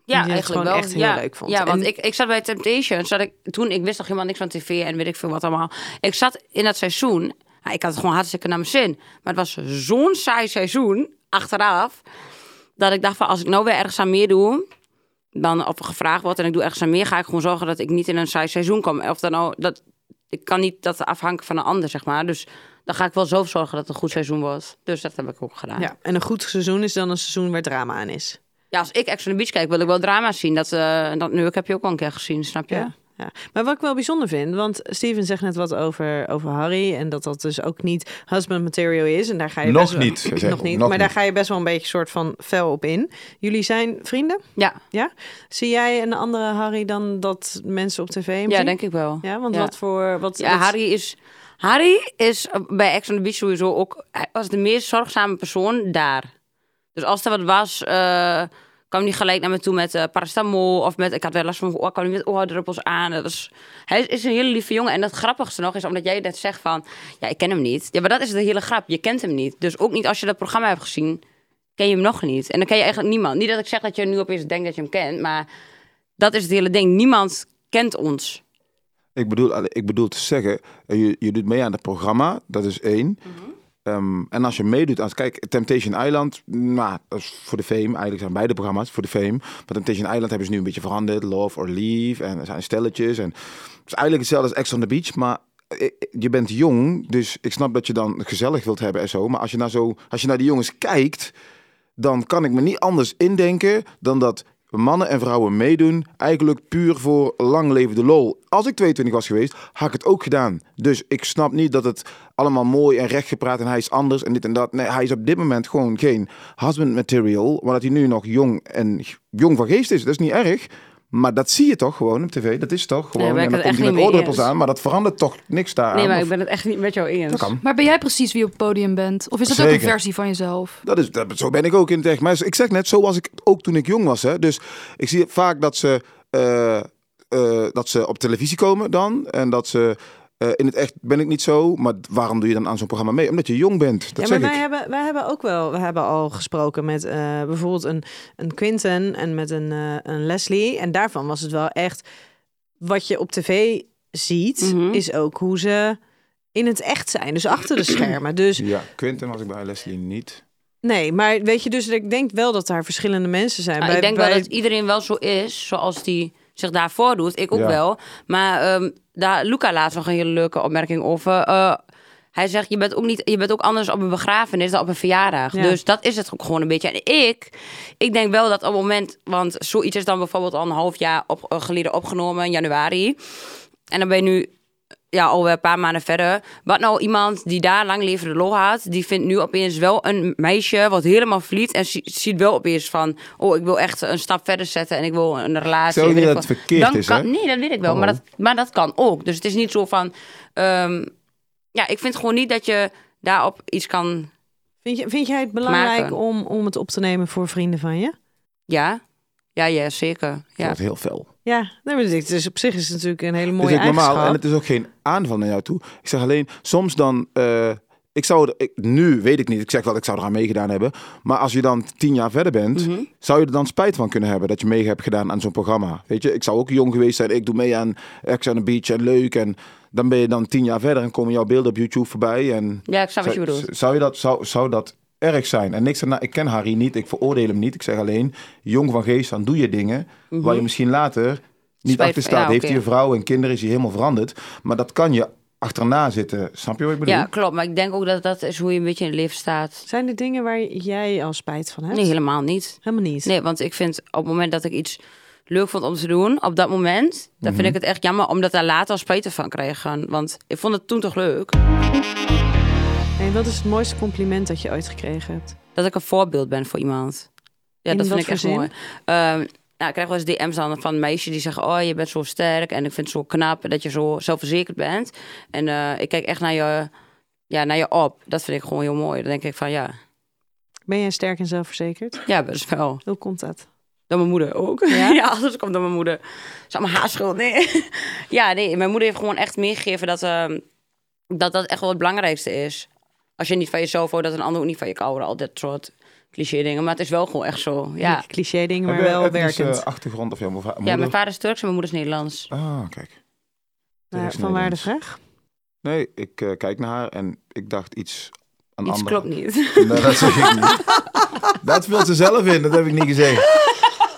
het eigenlijk gewoon wel. echt heel ja, leuk vond. Ja, En- want ik, ik zat bij Temptation. Zat ik, toen, ik wist nog helemaal niks van tv en weet ik veel wat allemaal. Ik zat in dat seizoen. Nou, ik had het gewoon hartstikke naar mijn zin. Maar het was zo'n saai seizoen, achteraf. Dat ik dacht van, als ik nou weer ergens aan meer doe... Dan of er gevraagd wordt en ik doe ergens aan meer... ga ik gewoon zorgen dat ik niet in een saai seizoen kom. Of dan nou... Dat, ik kan niet dat afhangen van een ander, zeg maar. Dus dan ga ik wel zo zorgen dat het een goed seizoen was. Dus dat heb ik ook gedaan. Ja, Ja, en een goed seizoen is dan een seizoen waar drama aan is. als ik Ex on the Beach kijk, wil ik wel drama zien. Dat, eh, dat nu, ik heb je ook al een keer gezien, snap je? Ja. Ja. Maar wat ik wel bijzonder vind, want Steven zegt net wat over, over Harry en dat dat dus ook niet husband material is. En daar ga je Nog best wel- niet, zei nog hij. niet. Nog maar daar niet. ga je best wel een beetje soort van fel op in. Jullie zijn vrienden, Ja, ja? Zie jij een andere Harry dan dat mensen op tv hem ja zien? denk ik wel. Ja, want Ja. wat voor... Wat, Ja, wat- Harry is... Harry is eh, bij Ex on the Beach sowieso ook... Hij was de meest zorgzame persoon daar. Dus als er wat was, eh, kwam hij gelijk naar me toe met eh, paracetamol. Of met, ik had wel last van, oh, kwam hij met oordruppels aan. Dat is, hij is een hele lieve jongen. En het grappigste nog is, omdat jij net zegt van... Ja, ik ken hem niet. Ja, maar dat is de hele grap. Je kent hem niet. Dus ook niet als je dat programma hebt gezien, ken je hem nog niet. En dan ken je eigenlijk niemand. Niet dat ik zeg dat je nu opeens denkt dat je hem kent, maar... Dat is het hele ding. Niemand kent ons. Ik bedoel, ik bedoel te zeggen, eh, je, je doet mee aan het programma, dat is één. Ehm, en als je meedoet aan, kijk, Temptation Island, nou, dat is voor de fame, eigenlijk zijn beide programma's voor de fame. Maar Temptation Island hebben ze nu een beetje veranderd, Love or Leave, en er zijn stelletjes. En, het is eigenlijk hetzelfde als Ex on the Beach, maar eh, eh, je bent jong, dus ik snap dat je dan gezellig wilt hebben en zo. Maar als je naar, zo, als je naar die jongens kijkt, dan kan ik me niet anders indenken dan dat mannen en vrouwen meedoen, eigenlijk puur voor lang levende lol. Als ik 22 was geweest, had ik het ook gedaan. Dus ik snap niet dat het allemaal mooi en recht gepraat en hij is anders en dit en dat. Nee, hij is op dit moment gewoon geen husband material, maar dat hij nu nog jong en g- jong van geest is, dat is niet erg. Maar dat zie je toch gewoon op tv, dat is toch gewoon. maar ik en dan ben komt het hij echt met niet mee oordruppels eens. aan, maar dat verandert toch niks daar Nee, maar ik ben het echt niet met jou eens. Ah, kan. Maar ben jij precies wie op het podium bent? Of is dat ook een Zeker. versie van jezelf? Dat is, dat, zo ben ik ook in het echt. Maar ik zeg net, zo was ik ook toen ik jong was. Hè. Dus ik zie vaak dat ze, eh, eh, dat ze op televisie komen dan. En dat ze... eh, in het echt ben ik niet zo. Maar waarom doe je dan aan zo'n programma mee? Omdat je jong bent. Dat ja, zeg maar wij ik. hebben, wij hebben ook wel, we hebben al gesproken met eh, bijvoorbeeld een, een Quinten en met een, eh, een Leslie. En daarvan was het wel echt, wat je op tv ziet, is ook hoe ze in het echt zijn. Dus achter de schermen. Dus Ja, Quinten was ik bij Leslie niet. nee, maar weet je, dus ik denk wel dat daar verschillende mensen zijn. Ah, Bij- ik denk bij- wel dat iedereen wel zo is, zoals die zich daarvoor doet. Ik ook Ja. wel. Maar ehm, daar, Luca laatst nog een hele leuke opmerking over. Eh, hij zegt, je bent, ook niet, je bent ook anders op een begrafenis dan op een verjaardag. Ja. Dus dat is het ook gewoon een beetje. En ik, ik denk wel dat op het moment... Want zoiets is dan bijvoorbeeld al een half jaar op, eh, geleden opgenomen, in januari. En dan ben je nu ja, alweer een paar maanden verder. Wat nou iemand die daar lang levende lol had, die vindt nu opeens wel een meisje wat helemaal vliet en zie- ziet wel opeens van, oh, ik wil echt een stap verder zetten en ik wil een relatie. Ik zeg ook weet niet dat ik wat. het verkeerd Dan is, kan- hè? Nee, dat weet ik wel, maar dat, maar dat kan ook. Dus het is niet zo van, ehm, ja, ik vind gewoon niet dat je daarop iets kan, vind, je, vind jij het belangrijk Maken. om, om het op te nemen voor vrienden van je? ja, ja, ja, zeker, Ja. ja. Dat heel fel. Ja, nee, maar dit is op zich is het natuurlijk een hele mooie is ook normaal en eigenschap. het is ook geen aanval naar jou toe. Ik zeg alleen, soms dan... eh, ik zou, er- ik, nu weet ik niet, ik zeg wel, ik zou eraan meegedaan hebben. Maar als je dan tien jaar verder bent, Mhm. zou je er dan spijt van kunnen hebben dat je mee hebt gedaan aan zo'n programma. Weet je, ik zou ook jong geweest zijn, ik doe mee aan Ex on the Beach en leuk. En dan ben je dan tien jaar verder en komen jouw beelden op YouTube voorbij. En Ja, ik snap wat je zou, bedoelt. zou, je dat, zou, zou dat erg zijn? En niks, erna- ik ken Harry niet, ik veroordeel hem niet. Ik zeg alleen, jong van geest, dan doe je dingen waar je misschien later niet Mhm. Spijt- achter staat. ja, Heeft oké. hij een vrouw en kinderen, is hij helemaal veranderd. Maar dat kan je achterna zitten. Snap je wat ik bedoel? Ja, klopt, maar ik denk ook dat dat is hoe je een beetje in het leven staat. Zijn er dingen waar jij al spijt van hebt? Nee, helemaal niet. helemaal niet. Nee, want ik vind op het moment dat ik iets leuk vond om te doen, op dat moment, dan vind ik het echt jammer omdat daar later al spijt van krijgen. Want ik vond het toen toch leuk En wat is het mooiste compliment dat je ooit gekregen hebt? dat ik een voorbeeld ben voor iemand. Ja, In dat vind wat ik voor echt zin? mooi. Ehm, nou, ik krijg wel eens DM's dan van meisjes die zeggen: Oh, je bent zo sterk en ik vind het zo knap dat je zo zelfverzekerd bent. En eh, ik kijk echt naar je, ja, naar je op. Dat vind ik gewoon heel mooi. Dan denk ik van ja, Ben jij sterk en zelfverzekerd? ja, best wel. Hoe komt dat? Dan mijn moeder ook. Ja, alles komt door mijn moeder. Het is allemaal haar schuld. Nee. ja, nee, mijn moeder heeft gewoon echt meegegeven dat, ehm, dat dat echt wel het belangrijkste is. Als je niet van jezelf houdt, dat een ander ook niet van je kan houden. Al dat soort cliché dingen. Maar het is wel gewoon echt zo. Ja, Cliché dingen, Heb dus, maar jij wel etnische werkend. achtergrond of jouw moeder? ja mijn vader is Turks en mijn moeder is Nederlands. Ah, kijk. Maar Nederlands. Nou, van waar de vraag? Nee, ik eh, kijk naar haar en ik dacht iets aan Iets anderen. klopt niet. Nee, Nou, dat zeg ik niet. Dat vult ze zelf in, dat heb ik niet gezegd.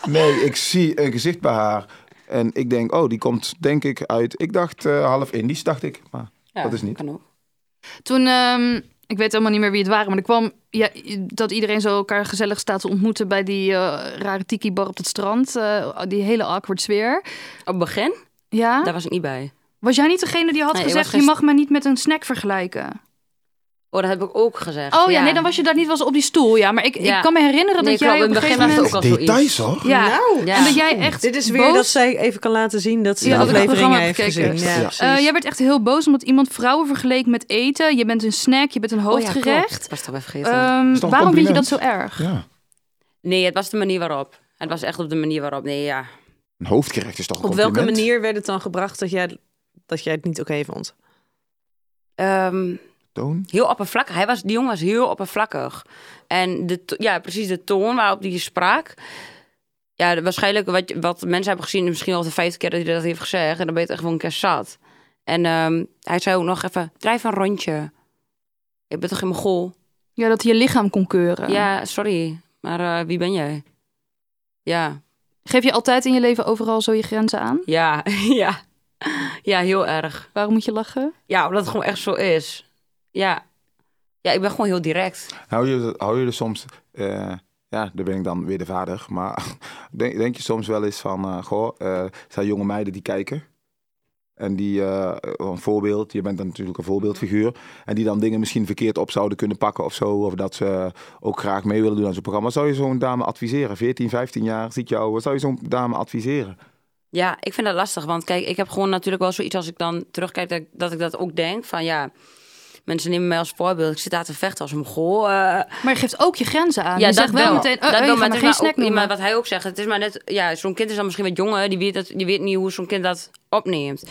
Nee, ik zie een gezicht bij haar en ik denk, oh, die komt denk ik uit... Ik dacht eh, half Indisch, dacht ik, maar Ja, dat is niet. Kan ook. Toen, ehm, ik weet helemaal niet meer wie het waren, maar er kwam ja, dat iedereen zo elkaar gezellig staat te ontmoeten bij die eh, rare tiki-bar op het strand. eh, die hele awkward sfeer. Op begin, Ja. daar was ik niet bij. Was jij niet degene die had Nee, ik gezegd, was je gest- mag me niet met een snack vergelijken? Oh, dat heb ik ook gezegd. Oh ja, nee, dan was je daar niet, was op die stoel. Ja, maar ik, Ja. ik kan me herinneren Nee, dat jij klopt, op een in het gegeven begin was het moment... ook al zoiets. Details hoor. Ja. Nou, Ja. en dat jij echt dit is weer boos- dat zij even kan laten zien dat ze Ja, de dat ik het aflevering programma heeft heb gezien. gekeken. Ja, Ja. precies. Eh, jij werd echt heel boos omdat iemand vrouwen vergeleek met eten. Je bent een snack, je bent een Oh ja, klopt. hoofdgerecht. Ik was toch even vergeten. Ehm, Is toch een waarom vind je dat compliment? zo erg? Ja. nee, het was de manier waarop. Het was echt op de manier waarop. Nee, ja. Een hoofdgerecht is toch een Op welke compliment? manier werd het dan gebracht dat jij, dat jij het niet oké vond? Ehm, Toon? heel oppervlakkig. Hij was, die jongen was heel oppervlakkig. En de, to- ja, precies de toon waarop hij sprak. Ja, de- waarschijnlijk wat, je- wat mensen hebben gezien, misschien al de vijfde keer dat hij dat heeft gezegd. En dan ben je het echt gewoon een keer zat. En ehm, hij zei ook nog even, drijf een rondje. Ik ben toch in mijn goal? Ja, dat hij je lichaam kon keuren. Ja, sorry. Maar eh, wie ben jij? Ja, Geef je altijd in je leven overal zo je grenzen aan? ja, ja. Ja, heel erg. Waarom moet je lachen? Ja, omdat het gewoon echt zo is. Ja. Ja, ik ben gewoon heel direct. Hou je, hou je er soms, eh, ja, daar ben ik dan weer de vader, maar denk, denk je soms wel eens van, eh, goh, eh, zijn jonge meiden die kijken? En die, eh, een voorbeeld, je bent dan natuurlijk een voorbeeldfiguur, en die dan dingen misschien verkeerd op zouden kunnen pakken of zo, of dat ze ook graag mee willen doen aan zo'n programma. Zou je zo'n dame adviseren? 14, 15 jaar, ziet jou, zou je zo'n dame adviseren? Ja, ik vind dat lastig. Want kijk, ik heb gewoon natuurlijk wel zoiets als ik dan terugkijk, dat, ik- dat ik dat ook denk. Van ja, mensen nemen mij als voorbeeld. Ik zit daar te vechten als een eh. goh. Maar je geeft ook je grenzen aan. ja, je zegt wel, meteen, oh, oh, je gaat maar me het is geen maar ook- snack noemen. maar wat hij ook zegt, het is maar net... Ja, zo'n kind is dan misschien wat jonger. Die weet, dat, die weet niet hoe zo'n kind dat opneemt. Maar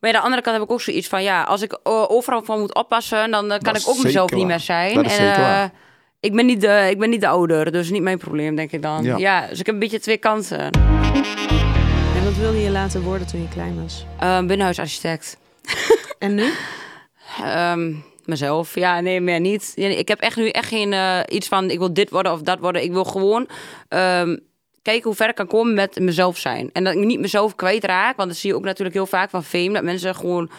ja, aan de andere kant heb ik ook zoiets van... Ja, als ik eh, overal van moet oppassen, dan eh, kan Dat is ik ook mezelf zeker niet waar. meer zijn. Dat is en, zeker eh, waar. ik, ben niet de, ik ben niet de ouder, dus niet mijn probleem, denk ik dan. Ja, Ja. dus ik heb een beetje twee kanten. En wat wilde je laten worden toen je klein was? Eh, binnenhuisarchitect. En nu? Ehm, mezelf. Ja, nee, meer niet. Ja, nee, Ik heb echt nu echt geen eh, iets van ik wil dit worden of dat worden. Ik wil gewoon ehm, kijken hoe ver ik kan komen met mezelf zijn. En dat ik niet mezelf kwijtraak. Want dat zie je ook natuurlijk heel vaak van fame. Dat mensen gewoon,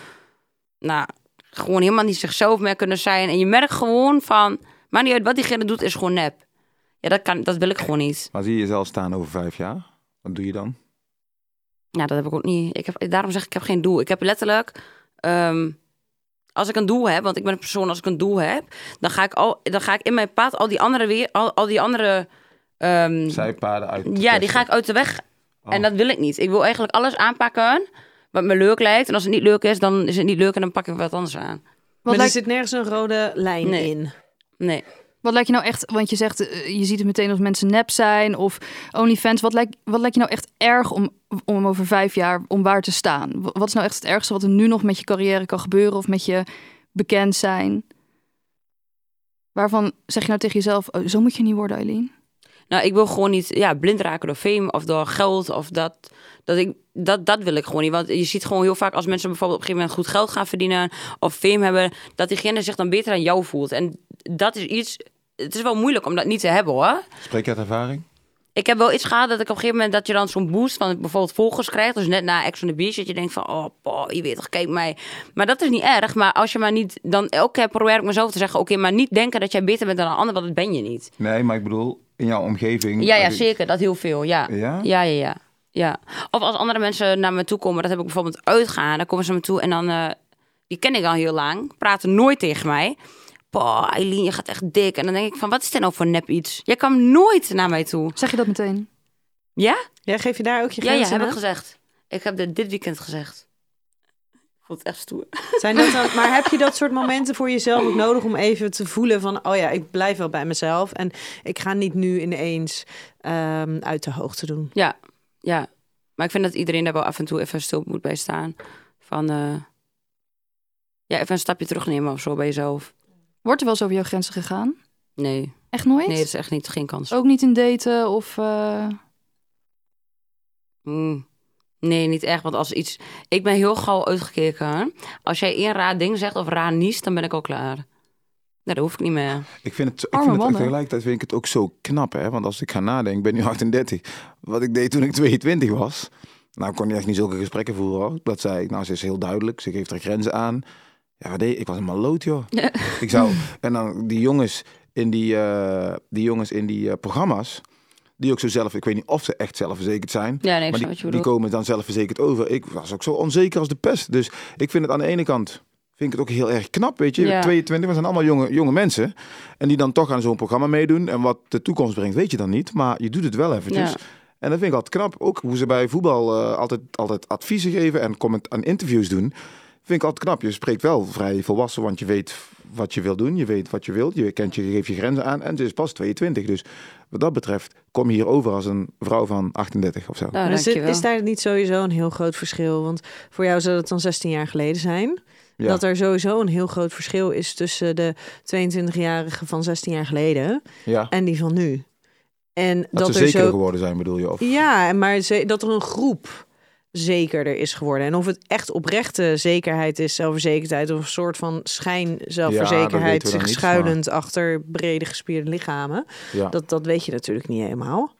nou, gewoon helemaal niet zichzelf meer kunnen zijn. En je merkt gewoon van, maar niet uit wat diegene doet is gewoon nep. Ja, dat, kan, dat wil ik gewoon niet. Maar zie je jezelf staan over vijf jaar? Wat doe je dan? Ja, Nou, dat heb ik ook niet. Ik heb, daarom zeg ik, ik heb geen doel. Ik heb letterlijk... ehm, als ik een doel heb, want ik ben een persoon, als ik een doel heb... dan ga ik, al, dan ga ik in mijn pad al die andere... Weer, al, al die andere ehm, Zijpaden uit. ja, die ga ik uit de weg. Oh. En dat wil ik niet. Ik wil eigenlijk alles aanpakken wat me leuk lijkt. En als het niet leuk is, dan is het niet leuk en dan pak ik wat anders aan. Maar wat, lijkt, er zit nergens een rode lijn Nee. in. Nee. wat lijkt je nou echt... Want je zegt, eh, je ziet het meteen of mensen nep zijn of OnlyFans. Wat lijkt, wat lijkt je nou echt erg om, om over vijf jaar om waar te staan? Wa- Wat is nou echt het ergste wat er nu nog met je carrière kan gebeuren of met je bekend zijn? Waarvan zeg je nou tegen jezelf, oh, zo moet je niet worden, Eileen? Nou, ik wil gewoon niet ja, blind raken door fame of door geld of dat. Dat, ik, dat, dat wil ik gewoon niet. Want je ziet gewoon heel vaak als mensen bijvoorbeeld op een gegeven moment goed geld gaan verdienen of fame hebben, dat diegene zich dan beter aan jou voelt. En dat is iets. Het is wel moeilijk om dat niet te hebben hoor. Spreek uit ervaring? Ik heb wel iets gehad dat ik op een gegeven moment dat je dan zo'n boost van bijvoorbeeld volgers krijgt. Dus net na Ex on the Beach, dat je denkt van, oh, boh, je weet toch, kijk mij. Maar dat is niet erg. Maar als je maar niet, dan elke keer probeer ik mezelf te zeggen, oké, maar niet denken dat jij beter bent dan een ander, want dat ben je niet. Nee, maar ik bedoel, in jouw omgeving. Ja, ja, Als ik- zeker. Dat heel veel, ja. Ja? Ja, ja, ja. Ja. Of als andere mensen naar me toe komen, dat heb ik bijvoorbeeld uitgaan. Dan komen ze naar me toe en dan... eh, die ken ik al heel lang. Praten nooit tegen mij. Poh, Eileen, je gaat echt dik. En dan denk ik van, wat is dit nou voor nep iets? Jij kwam nooit naar mij toe. Zeg je dat meteen? Ja? Ja, geef je daar ook je Ja, ja, grenzen heb ik aan? gezegd. Ik heb dit dit weekend gezegd. Ik vond het echt stoer. Zijn dat dan, maar heb je dat soort momenten voor jezelf ook nodig om even te voelen van, oh ja, ik blijf wel bij mezelf en ik ga niet nu ineens ehm, uit de hoogte doen. Ja, ja. Maar ik vind dat iedereen daar wel af en toe even stil moet bij staan. Van, eh, ja, even een stapje terugnemen of zo bij jezelf. Wordt er wel eens over jouw grenzen gegaan? Nee. Echt nooit? Nee, dat is echt niet, geen kans. Ook niet in daten of... eh, Mm. Nee, niet echt. Want als iets. Ik ben heel gauw uitgekeken. Als jij één raar ding zegt of raar niest, dan ben ik al klaar. Nou, dat hoef ik niet meer. Ik vind het, ik Arme vind het ook mannen. tegelijkertijd vind ik het ook zo knap, hè? Want als ik ga nadenken, ik ben nu 38. Wat ik deed toen ik 22 was. Nou, ik kon echt niet zulke gesprekken voeren hoor. Dat zei ik, nou, ze is heel duidelijk. Ze geeft er grenzen aan. Ja, wat deed ik? Ik was een maloot, joh. Ik zou... En dan die jongens in die, eh, die, jongens in die eh, programma's, die ook zo zelf... Ik weet niet of ze echt zelfverzekerd zijn. Ja, nee, ik maar snap die, wat je die bedoelt. komen dan zelfverzekerd over. Ik was ook zo onzeker als de pest. Dus ik vind het aan de ene kant... Vind ik het ook heel erg knap, weet je. Ja. 22, we zijn allemaal jonge, jonge mensen. En die dan toch aan zo'n programma meedoen. En wat de toekomst brengt, weet je dan niet. Maar je doet het wel eventjes. Ja. En dat vind ik altijd knap. Ook hoe ze bij voetbal eh, altijd, altijd adviezen geven en comment aan interviews doen. Vind ik altijd knap. Je spreekt wel vrij volwassen, want je weet wat je wil doen. Je weet wat je wilt. Je, kent je, je geeft je grenzen aan. En ze is pas 22. Dus wat dat betreft kom je hier over als een vrouw van 38 of zo. Nou, Maar Dus is, dit- dankjewel. is daar niet sowieso een heel groot verschil? Want voor jou zou dat dan 16 jaar geleden zijn. Ja. Dat er sowieso een heel groot verschil is tussen de 22-jarige van 16 jaar geleden ja. en die van nu. En dat, Dat, ze er zeker zo. geworden zijn, bedoel je? Of... Ja, en maar ze- dat er een groep zekerder is geworden. En of het echt oprechte zekerheid is, zelfverzekerdheid... of een soort van Ja, dat schijnzelfverzekerheid... weten we dan zich niet, schuilend achter brede gespierde lichamen... Ja. Dat, dat weet je natuurlijk niet helemaal.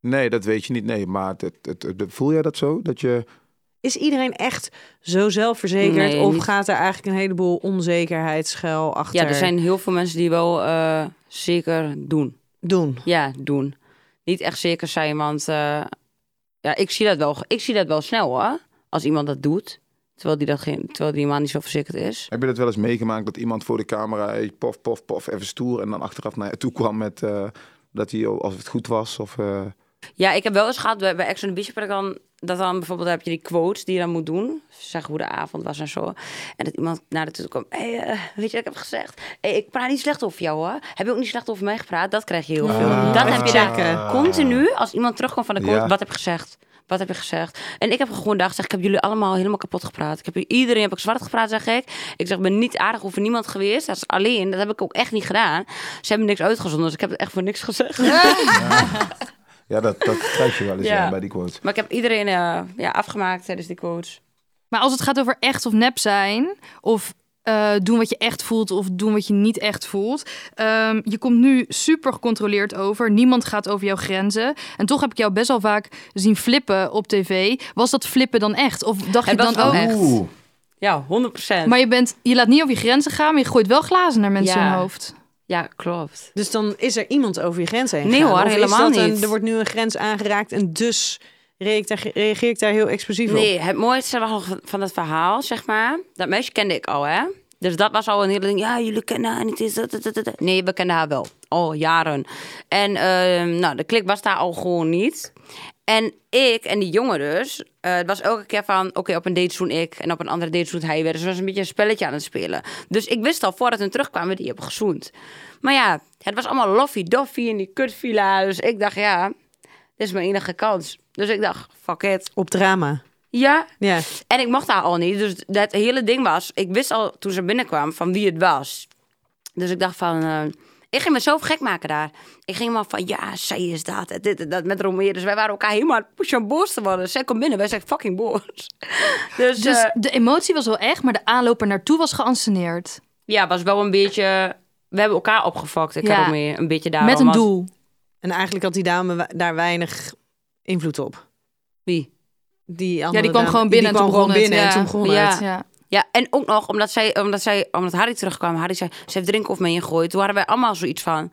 Nee, dat weet je niet. Nee, maar het, het, het- het- voel jij dat zo? Dat je... Is iedereen echt zo zelfverzekerd? Nee, of niet. gaat er eigenlijk een heleboel onzekerheid schuil achter? Ja, er zijn heel veel mensen die wel eh, zeker doen. Doen. Ja, doen. Niet echt zeker zijn, want eh, ja, ik, zie dat wel, ik zie dat wel snel hoor. Als iemand dat doet, terwijl die, dat geen, terwijl die man niet zo verzekerd is. Heb je dat wel eens meegemaakt dat iemand voor de camera hey, pof, pof, pof, even stoer... en dan achteraf naar je toe kwam met eh, dat hij, oh, als het goed was of... eh, Ja, ik heb wel eens gehad bij, bij Ex on the Beach, heb ik dan, dat dan bijvoorbeeld heb je die quotes die je dan moet doen. Zeg hoe de avond was en zo. En dat iemand naar de toe komt, hey, eh, weet je wat ik heb gezegd? Hey, ik praat niet slecht over jou hoor. Heb je ook niet slecht over mij gepraat? Dat krijg je heel veel. Ah. dat heb je Checken. daar continu, als iemand terugkomt van de quote, Ja. wat heb je gezegd? Wat heb je gezegd? En ik heb gewoon gedacht, zeg, ik heb jullie allemaal helemaal kapot gepraat. Ik heb iedereen heb ik zwart gepraat, zeg ik. Ik zeg, ik ben niet aardig over niemand geweest. Dat is alleen, dat heb ik ook echt niet gedaan. Ze hebben niks uitgezonden, dus ik heb het echt voor niks gezegd. Ja, dat, dat krijg je wel eens Ja. ja, bij die quote. Maar ik heb iedereen eh, ja, afgemaakt tijdens die quotes. Maar als het gaat over echt of nep zijn, of eh, doen wat je echt voelt of doen wat je niet echt voelt. ehm, je komt nu super gecontroleerd over. Niemand gaat over jouw grenzen. En toch heb ik jou best wel vaak zien flippen op tv. Was dat flippen dan echt? Of dacht Het je was dan ook... wel echt. Ja, 100 Maar je, bent, je laat niet over je grenzen gaan, maar je gooit wel glazen naar mensen Ja. hun hoofd. Ja, klopt. Dus dan is er iemand over je grens heen Nee, gegaan? hoor, Of is helemaal dat een- niet. er wordt nu een grens aangeraakt en dus reageer ik daar, reageer ik daar heel explosief op. Nee, het mooiste was nog van dat verhaal, zeg maar. Dat meisje kende ik al, hè. Dus dat was al een hele ding. Ja, jullie kennen haar niet. is dat- dat- dat- dat. Nee, we kennen haar wel. Al jaren. En ehm, nou, de klik was daar al gewoon niet. En ik en die jongen dus, eh, het was elke keer van... Oké, op een date zoen ik en op een andere date zoent hij weer. Dus het was een beetje een spelletje aan het spelen. Dus ik wist al voordat hun terugkwamen, die hebben gezoend. Maar ja, het was allemaal loffy-doffy in die kutvilla. Dus ik dacht, ja, dit is mijn enige kans. Dus ik dacht, fuck it. Op drama. Ja, Ja. en ik mocht haar al niet. Dus dat hele ding was... Ik wist al toen ze binnenkwam van wie het was. Dus ik dacht van... eh, ik ging mezelf gek maken daar. Ik ging helemaal van... Ja, zij is dat. en Dit en dat met Romeo. Dus wij waren elkaar helemaal aan het pushen om boos te worden. Zij komt binnen. Wij zijn fucking boos. Dus, Dus eh, de emotie was wel echt, maar de aanloop er naartoe was geanceneerd. ja, was wel een beetje... We hebben elkaar opgefokt. Ik Ja. heb ook meer een beetje daarom. Met een want- doel. En eigenlijk had die dame wa- daar weinig invloed op. Wie? Die Ja, andere die kwam dame- gewoon binnen die en kwam toen gewoon begon het. binnen en Ja. toen begon Ja. het. Ja. Ja, en ook nog omdat, zij, omdat, zij, omdat Harry terugkwam. Harry zei, ze heeft drinken over me ingegooid. Toen hadden wij allemaal zoiets van...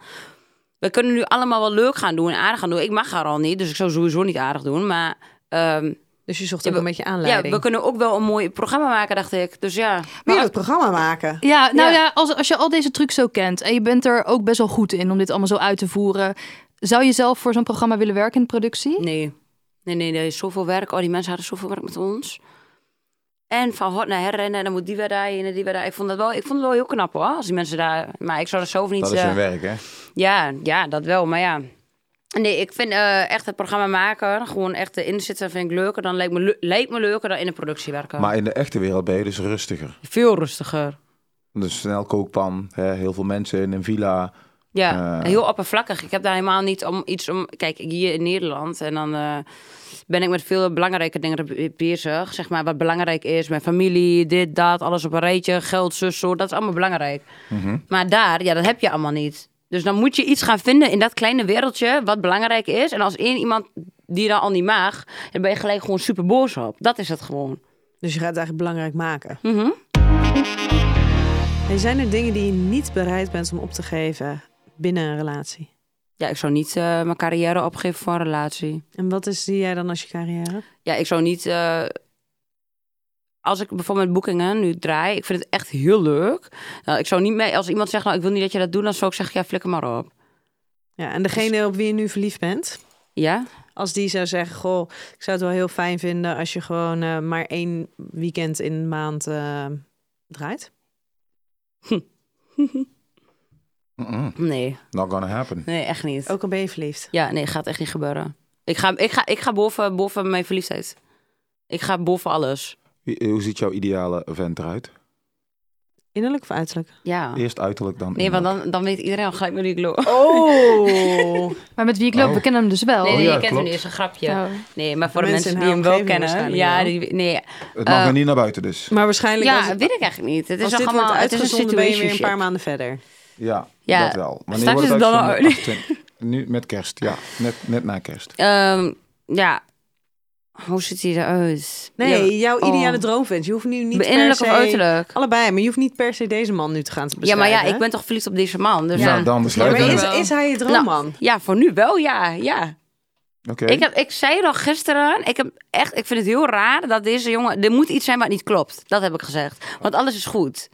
We kunnen nu allemaal wel leuk gaan doen en aardig gaan doen. Ik mag haar al niet, dus ik zou sowieso niet aardig doen. Maar ehm, Dus je zocht Ja, ook een we- beetje ja, aanleiding. we kunnen ook wel een mooi programma maken, dacht ik. Dus ja, Weer het programma maken. Ja, nou Ja. ja, als, als je al deze trucs zo kent en je bent er ook best wel goed in om dit allemaal zo uit te voeren. Zou je zelf voor zo'n programma willen werken in de productie? nee. Nee, nee, nee. Zoveel werk. Oh, die mensen hadden zoveel werk met ons. En van hot naar herrennen. En dan moet die weer daarheen en die weer daar. Ik vond dat wel, ik vond het wel heel knap hoor. Als die mensen daar... Maar ik zou dat zelf niet... Dat is hun eh, werk, hè? Ja, ja, dat wel. Maar ja. Nee, ik vind eh, echt het programma maken, gewoon echt erin zitten, vind ik leuker. Dan lijkt me, le- lijkt me leuker dan in de productie werken. Maar in de echte wereld ben je dus rustiger. Veel rustiger. Dus snel kookpan, hè, heel veel mensen in een villa. Ja, Eh. heel oppervlakkig. Ik heb daar helemaal niet om iets om. Kijk, hier in Nederland en dan eh, ben ik met veel belangrijke dingen be- bezig. Zeg maar wat belangrijk is, mijn familie, dit, dat, alles op een rijtje, geld, zus, zo. Dat is allemaal belangrijk. Maar daar, ja, dat heb je allemaal niet. Dus dan moet je iets gaan vinden in dat kleine wereldje wat belangrijk is. En als één iemand die dan al niet mag, dan ben je gelijk gewoon super boos op. Dat is het gewoon. Mhm. Dus je gaat het eigenlijk belangrijk maken. En zijn er dingen die je niet bereid bent om op te geven binnen een relatie? Ja, ik zou niet eh, mijn carrière opgeven voor een relatie. En wat is die jij dan als je carrière? Ja, ik zou niet. eh, als ik bijvoorbeeld boekingen nu draai, ik vind het echt heel leuk. Nou, ik zou niet mee. Als iemand zegt, nou, ik wil niet dat je dat doet, dan zou ik zeggen, ja, flikker maar op. Ja, en degene op wie je nu verliefd bent, Ja? als die zou zeggen: Goh, ik zou het wel heel fijn vinden als je gewoon eh, maar één weekend in de maand eh, draait. Nee. Not gonna happen. Nee, echt niet. Ook al ben je verliefd. Ja, nee, gaat echt niet gebeuren. Ik ga, ik ga, ik ga boven, boven mijn verliefdheid. Ik ga boven alles. Wie- Hoe ziet jouw ideale vent eruit? Innerlijk of uiterlijk? Ja. Eerst uiterlijk, dan Ah. Nee, want innerlijk. dan, dan weet iedereen al gelijk met wie ik loop. Oh! Maar met wie ik loop, we kennen hem dus wel. Nee, nee, ja, je kent hem klopt. niet, is een grapje. Oh. Nee, maar voor De de mensen mensen, in die haar hem wel omgeving kennen. waarschijnlijk Ja, wel. die, nee. Het mag eh, er niet naar buiten dus. maar waarschijnlijk Ja, als het, weet ik eigenlijk niet. Het is als dit allemaal wordt het is een uitgezonden ben je weer een situationship. paar maanden verder. Ja, Ja, dat wel. straks wordt is het dan uitgezonden? al- 28. Nu met kerst, ja. Net, net na kerst. Ehm, ja. Hoe ziet hij eruit? Nee, Ja. jouw ideale Oh. droomvent. Je hoeft nu niet Innerlijk per of se... uiterlijk? Allebei, maar je hoeft niet per se deze man nu te gaan Ja, beschrijven. Oh, maar ja, hè? ik ben toch verliefd op deze man. Dus Ja, ja. dan Ja, besluiten maar we. Leuk. is, is hij je Nou, droomman? ja, voor nu wel, ja. ja. Oké. Ik, heb, ik zei het al gisteren, ik, heb echt, ik vind het heel raar dat deze jongen... Er moet iets zijn wat niet klopt, dat heb ik gezegd. Want alles is goed.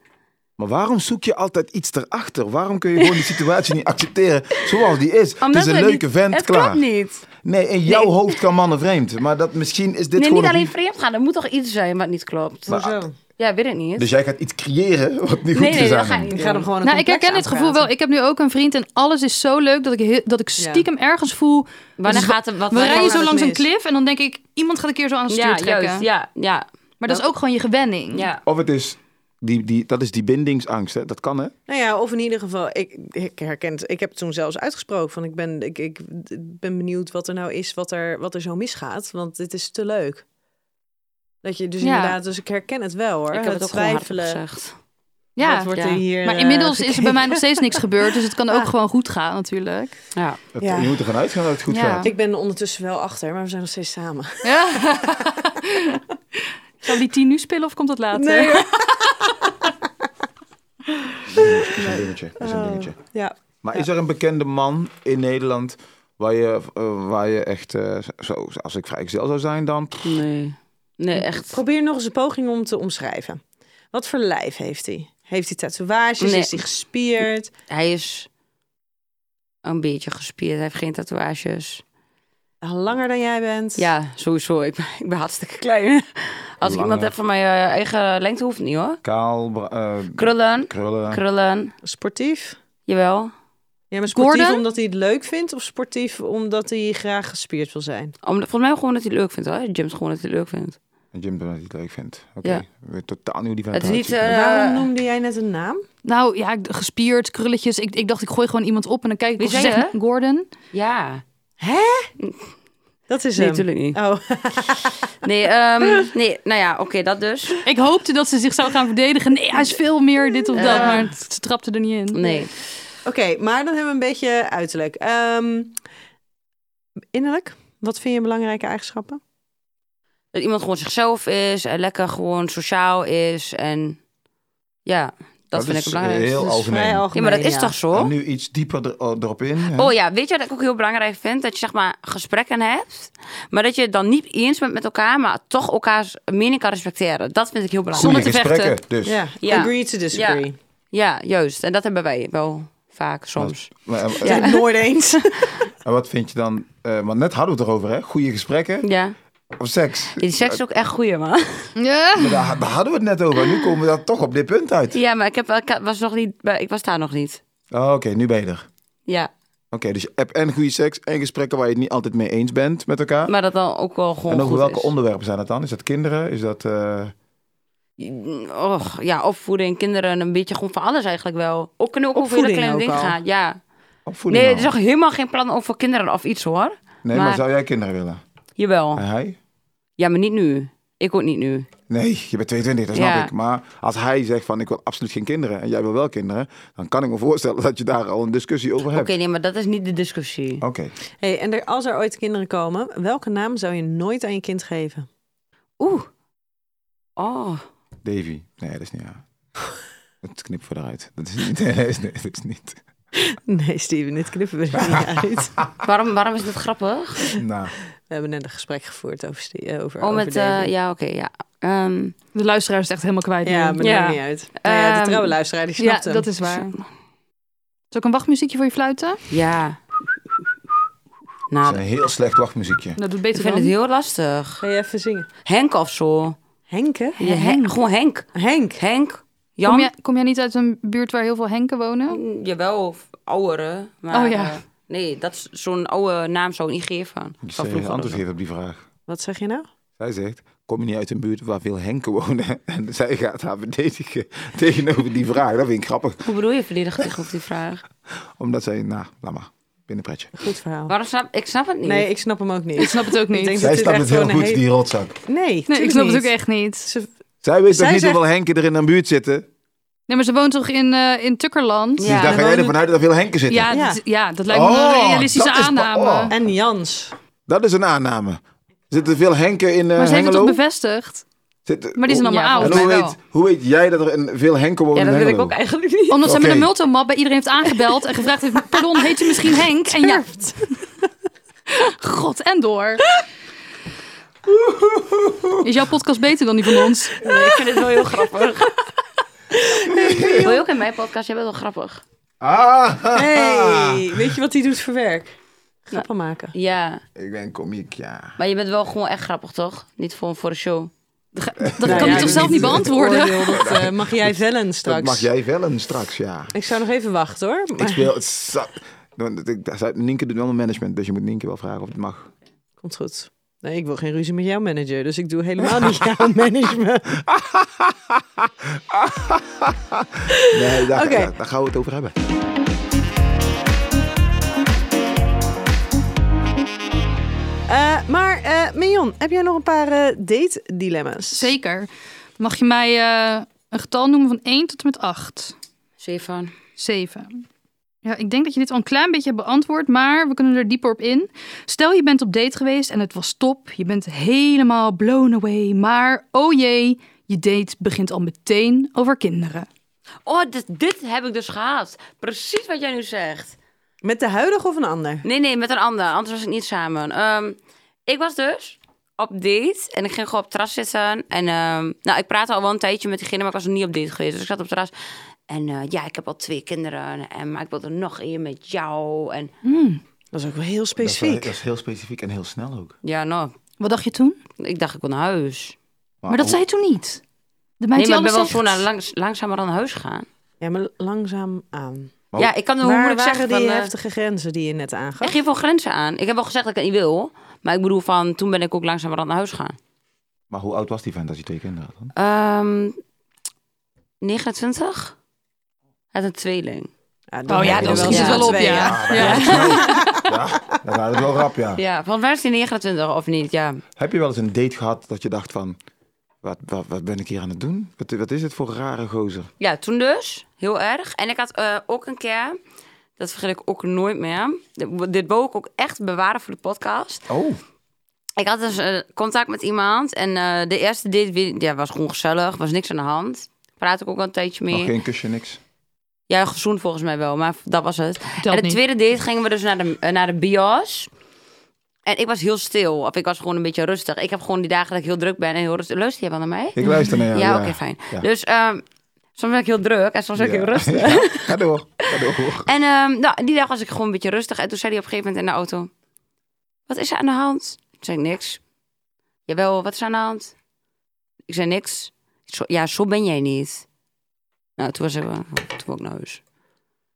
Maar waarom zoek je altijd iets erachter? Waarom kun je gewoon die situatie niet accepteren zoals die is? het is Omdat een we leuke niet- vent, het klaar. klopt niet. Nee, in jouw Nee. hoofd kan mannen vreemd. Maar dat, misschien is dit nee, gewoon... niet een- alleen vreemd gaan, er moet toch iets zijn wat niet klopt. Hoezo? Ja, weet ik niet. Dus jij gaat iets creëren wat niet goed nee, is nee, aan dat ga hem. ik niet Je gaat hem doen. gewoon een Nou, ik complex herken dit gevoel wel. aanpraten. Ik heb nu ook een vriend en alles is zo leuk dat ik, heel- dat ik stiekem ergens voel. Wanneer Dus wa- gaat er wat... We wanneer rijden gaat zo er- langs een mis? klif en dan denk ik, iemand gaat een keer zo aan het stuur Ja, trekken. juist, ja, ja. Maar dat is ook gewoon je gewenning. Ja. Of het is... Die, die, dat is die bindingsangst, hè? dat kan hè? Nou ja, of in ieder geval, ik, ik herken het. Ik heb het toen zelfs uitgesproken van ik ben, ik, ik ben benieuwd wat er nou is, wat er, wat er zo misgaat. Want dit is te leuk. Dat je dus Ja. inderdaad, dus ik herken het wel hoor. Ik heb het ook gewoon hard gezegd. Ja. Wat wordt Ja. er hier, Maar eh, inmiddels is er bij gekeken? mij nog steeds niks gebeurd. Dus het kan ook Ah. gewoon goed gaan natuurlijk. Ja. Dat- Ja. Je moet ervan uitgaan dat het goed Ja. gaat. Ik ben er ondertussen wel achter, maar we zijn nog steeds samen. Ja. Zou die tien nu spelen of komt dat later? Dat is een dingetje. Dat is een dingetje. Ja. Maar is er een bekende man in Nederland waar je, eh, waar je echt, eh, zo, als ik vrijgezel zou zijn dan... Nee. Nee, echt. Probeer nog eens een poging om te omschrijven. Wat voor lijf heeft hij? Heeft hij tatoeages? Nee. Is hij gespierd? Hij is een beetje gespierd. Hij heeft geen tatoeages. Langer dan jij bent? Ja, sowieso. Ik ben, ik ben hartstikke klein. Als ik iemand heb van mijn eh, eigen lengte, hoeft het niet hoor. Kaal, bra- eh, Krullen, krullen. krullen. Sportief? Jawel. Ja, maar sportief Gordon? omdat hij het leuk vindt of sportief omdat hij graag gespierd wil zijn? Om, volgens mij gewoon dat hij het leuk vindt hoor. Jim is gewoon dat hij het leuk vindt. En Jim dat hij het leuk vindt. Oké, Ja. weer totaal nieuw die vent Het is eruit niet, ziet. eh, Waarom noemde jij net een naam? Nou ja, ik- gespierd, krulletjes. Ik, ik dacht, ik gooi gewoon iemand op en dan kijk ik Wie of ze zei zegt je? Gordon. Ja. Dat is Nee, hem. natuurlijk niet. Oh, Nee, ehm, nee nou ja, oké, dat dus. Ik hoopte dat ze zich zou gaan verdedigen. Nee, hij is veel meer dit of dat. Maar het- ze trapte er niet in. Nee. oké. maar dan hebben we een beetje uiterlijk. Ehm, innerlijk, wat vind je belangrijke eigenschappen? Dat iemand gewoon zichzelf is en lekker gewoon sociaal is. En ja, dat, vind ik is eh, belangrijk. heel Dat is algemeen. vrij Ja, algemeen, maar dat is toch zo? En nu iets dieper er- eh, erop in. hè? Oh ja, weet je wat ik ook heel belangrijk vind? Dat je zeg maar gesprekken hebt, maar dat je het dan niet eens bent met elkaar, maar toch elkaars mening kan respecteren. Dat vind ik heel belangrijk. Goeie Zonder te gesprekken, vechten. dus. Ja, Ja. agree to disagree. Ja. Ja, juist. En dat hebben wij wel vaak soms. Maar, eh, Ja. Nooit eens. En wat vind je dan... eh want net hadden we het erover, hè? Goede gesprekken Ja. Ja, of seks? Die seks is ook echt goeie, man. Ja. Maar Daar, daar hadden we het net over. En nu komen we dan toch op dit punt uit. Ja, maar ik, heb, ik was nog niet, bij- ik was daar nog niet. Oh, Oké, nu ben je er. Oké, Ja, dus je hebt en goede seks en gesprekken waar je het niet altijd mee eens bent met elkaar. maar dat dan ook wel gewoon en over goed welke is. onderwerpen zijn dat dan? Is dat kinderen? Is dat... eh, Och, ja, opvoeding, kinderen, een beetje gewoon van alles eigenlijk wel. Ook kunnen ook over hele Opvoeding kleine ook dingen al. gaan. Ja. Opvoeding Nee, al. er is nog helemaal geen plan over kinderen of iets hoor. Nee, maar... maar- Oh. zou jij kinderen willen? Jawel. En hij? Ja, maar niet nu. Ik ook niet nu. Nee, je bent 22, dat snap Ja. ik. Maar als hij zegt van ik wil absoluut geen kinderen en jij wil wel kinderen, dan kan ik me voorstellen dat je daar al een discussie over Oké, hebt. Oké. nee, maar dat is niet de discussie. Hey, en er, als er ooit kinderen komen, welke naam zou je nooit aan je kind geven? Oeh. Oh. Davy. Nee, dat is niet waar. Dat knippen we eruit. Dat is niet. Nee, dat is niet. Dat is niet. Nee, Steven, dit knippen we er niet uit. Waarom, waarom is dit grappig? Nou, We hebben net een gesprek gevoerd over... Ste- eh, over Om over het... David. eh, ja, oké, ja. Ehm, De luisteraar is het echt helemaal kwijt. Ja, nu. maar Ja. maakt niet uit. Nou ja, de Ehm, trouwe luisteraar, die ja snapt hem. dat is waar. Zal ik een wachtmuziekje voor je fluiten? ja. dat Nou, is een heel slecht wachtmuziekje. Dat doet ik beter vind dan. het heel lastig. Ga je even zingen? Henk of zo. Henk, hè? Ja, Hen- gewoon Henk. Henk. Henk. Kom Jan. jij, kom jij niet uit een buurt waar heel veel henken wonen? Mm, Jawel, of ouderen. Maar, Oh, ja. eh, nee, dat is zo'n oude naam zou ik niet geven. Ik Van zou geen vroeger. antwoord geven op die vraag. Wat zeg je nou? Zij zegt, kom je niet uit een buurt waar veel henken wonen? En zij gaat haar verdedigen tegenover die vraag. Dat vind ik grappig. Hoe bedoel je verdedigd tegen op die vraag? Omdat zij, nou, laat maar. Binnenpretje. Goed verhaal. Waarom snap ik snap het niet? Nee, ik snap hem ook Ik niet. snap het ook niet. denk Nee, dat- Zij dit snapt echt het heel gewoon goed, een die rotzak. Nee, ik tuurlijk snap het niet. ook echt niet. Ze- Zij weet Zij toch niet zegt- hoeveel henken er in een buurt zitten? Nee, maar ze woont toch in, eh, in Tukkerland? dus Ja, daar er ga jij wonen- ervan uit dat er veel henken zitten? Ja, Ja. dat, ja, dat lijkt me Oh, wel een realistische dat is- aanname. oh. En Jans. Dat is een aanname. Zitten veel henken in eh Maar ze heeft het Hengelo? toch bevestigd? Zitten- Maar die zijn Ja, allemaal oud. en maar hoe wel. weet, hoe weet jij dat er een veel henken wonen ja, in dat wil ik Hengelo? ook eigenlijk niet. Omdat zij met Oké. een multomap bij iedereen heeft aangebeld en gevraagd heeft... Pardon, heet je misschien Henk? En ja... God, en door. Is jouw podcast beter dan die van ons? Nee, ik vind het wel heel grappig. Wil je ook in mijn podcast? Jij bent wel grappig. Ah, ha, ha. Hey, weet je wat hij doet voor werk? Grappen maken. Ja, Ik ben komiek, ja. maar je bent wel gewoon echt grappig, toch? Niet voor, voor de show. Dat Nou kan ja, je toch dit zelf is niet het beantwoorden? oordeel, Dat eh, mag jij vellen straks. Dat mag jij wel een straks, ja. Ik zou nog even wachten hoor. Ik Maar... speel... het za- Want ik- zij- Nienke doet wel mijn management, dus je moet Nienke wel vragen of het mag. Komt goed. Nee, ik wil geen ruzie met jouw manager, dus ik doe helemaal niet jouw management. Nee, daar, Oké. daar- daar gaan we het over hebben. Eh, maar eh Mignon, heb jij nog een paar eh, date-dilemma's? Zeker. Mag je mij eh, een getal noemen van 1 tot en met 8? Stefan. 7. Ja, ik denk dat je dit al een klein beetje hebt beantwoord, maar we kunnen er dieper op in. Stel je bent op date geweest en het was top. Je bent helemaal blown away, maar oh jee, je date begint al meteen over kinderen. Oh, dit, dit heb ik dus gehad. Precies wat jij nu zegt. Met de huidige of een ander? Nee, nee, met een ander. Anders was ik niet samen. Ehm, ik was dus op date en ik ging gewoon op het terras zitten. En ehm, nou, ik praatte al wel een tijdje met diegene, maar ik was nog niet op date geweest. Dus ik zat op het terras. En eh, ja, ik heb al twee kinderen. En, maar ik wil er nog één met jou. En Dat is ook Dat wel heel is, wel- dat specifiek. is heel specifiek en heel snel ook. ja, nou, Wat dacht je toen? ik dacht ik wil naar huis. maar dat oh, zei je toen niet. De meid nee, die maar ik ben wel alles voor naar zegt. langs, langzamer dan naar huis gaan. Ja, maar langzaam aan. Oh. Ja, ik kan hoe Waar moet ik waren zeggen die van, eh, heftige grenzen die je net aangaf? Ik geef wel grenzen aan. Ik heb wel gezegd dat ik het niet wil. Maar ik bedoel van, toen ben ik ook langzamerhand naar huis gegaan. Maar hoe oud was die vent als je twee kinderen had? Dan? Ehm 29? Hij had een tweeling. dan Oh ja, heb je dat er schiet het wel op, twee, ja. Ah, dat gaat snel. ja, dat gaat het wel rap, ja. Ja, volgens mij is hij 29 of niet, ja. Heb je wel eens een date gehad dat je dacht van... Wat, wat, wat ben ik hier aan het doen? Wat, wat is het voor rare gozer? Ja, toen dus. Heel erg. En ik had eh, ook een keer... Dat vergeet ik ook nooit meer. Dit- Dit wou ik ook echt bewaren voor de podcast. Oh. Ik had dus eh, contact met iemand. En eh, de eerste date weet ik- ja, was gewoon gezellig. Was niks aan de hand. Praat ik ook al een tijdje mee. Nog geen kusje, niks. Ja, gezoend volgens mij wel, maar dat was het. Telt en de niet. tweede date gingen we dus naar de, eh, naar de bios. En ik was heel stil, of ik was gewoon een beetje rustig. Ik heb gewoon die dagen dat ik heel druk ben en heel rustig. Luister je wel naar mij? Ik luister naar Ja, jou. oké, fijn. Ja. Dus ehm, soms ben ik heel druk en soms ben ik heel rustig. Ja, Ga door. Ga door. En ehm, nou, die dag was ik gewoon een beetje rustig. En toen zei hij op een gegeven moment in de auto... Wat is er aan de hand? Ik zei niks. Jawel, wat is er aan de hand? Ik zei niks. Zo- ja, zo ben jij niet. Nou, toen was ik, wel- toen was ik naar huis.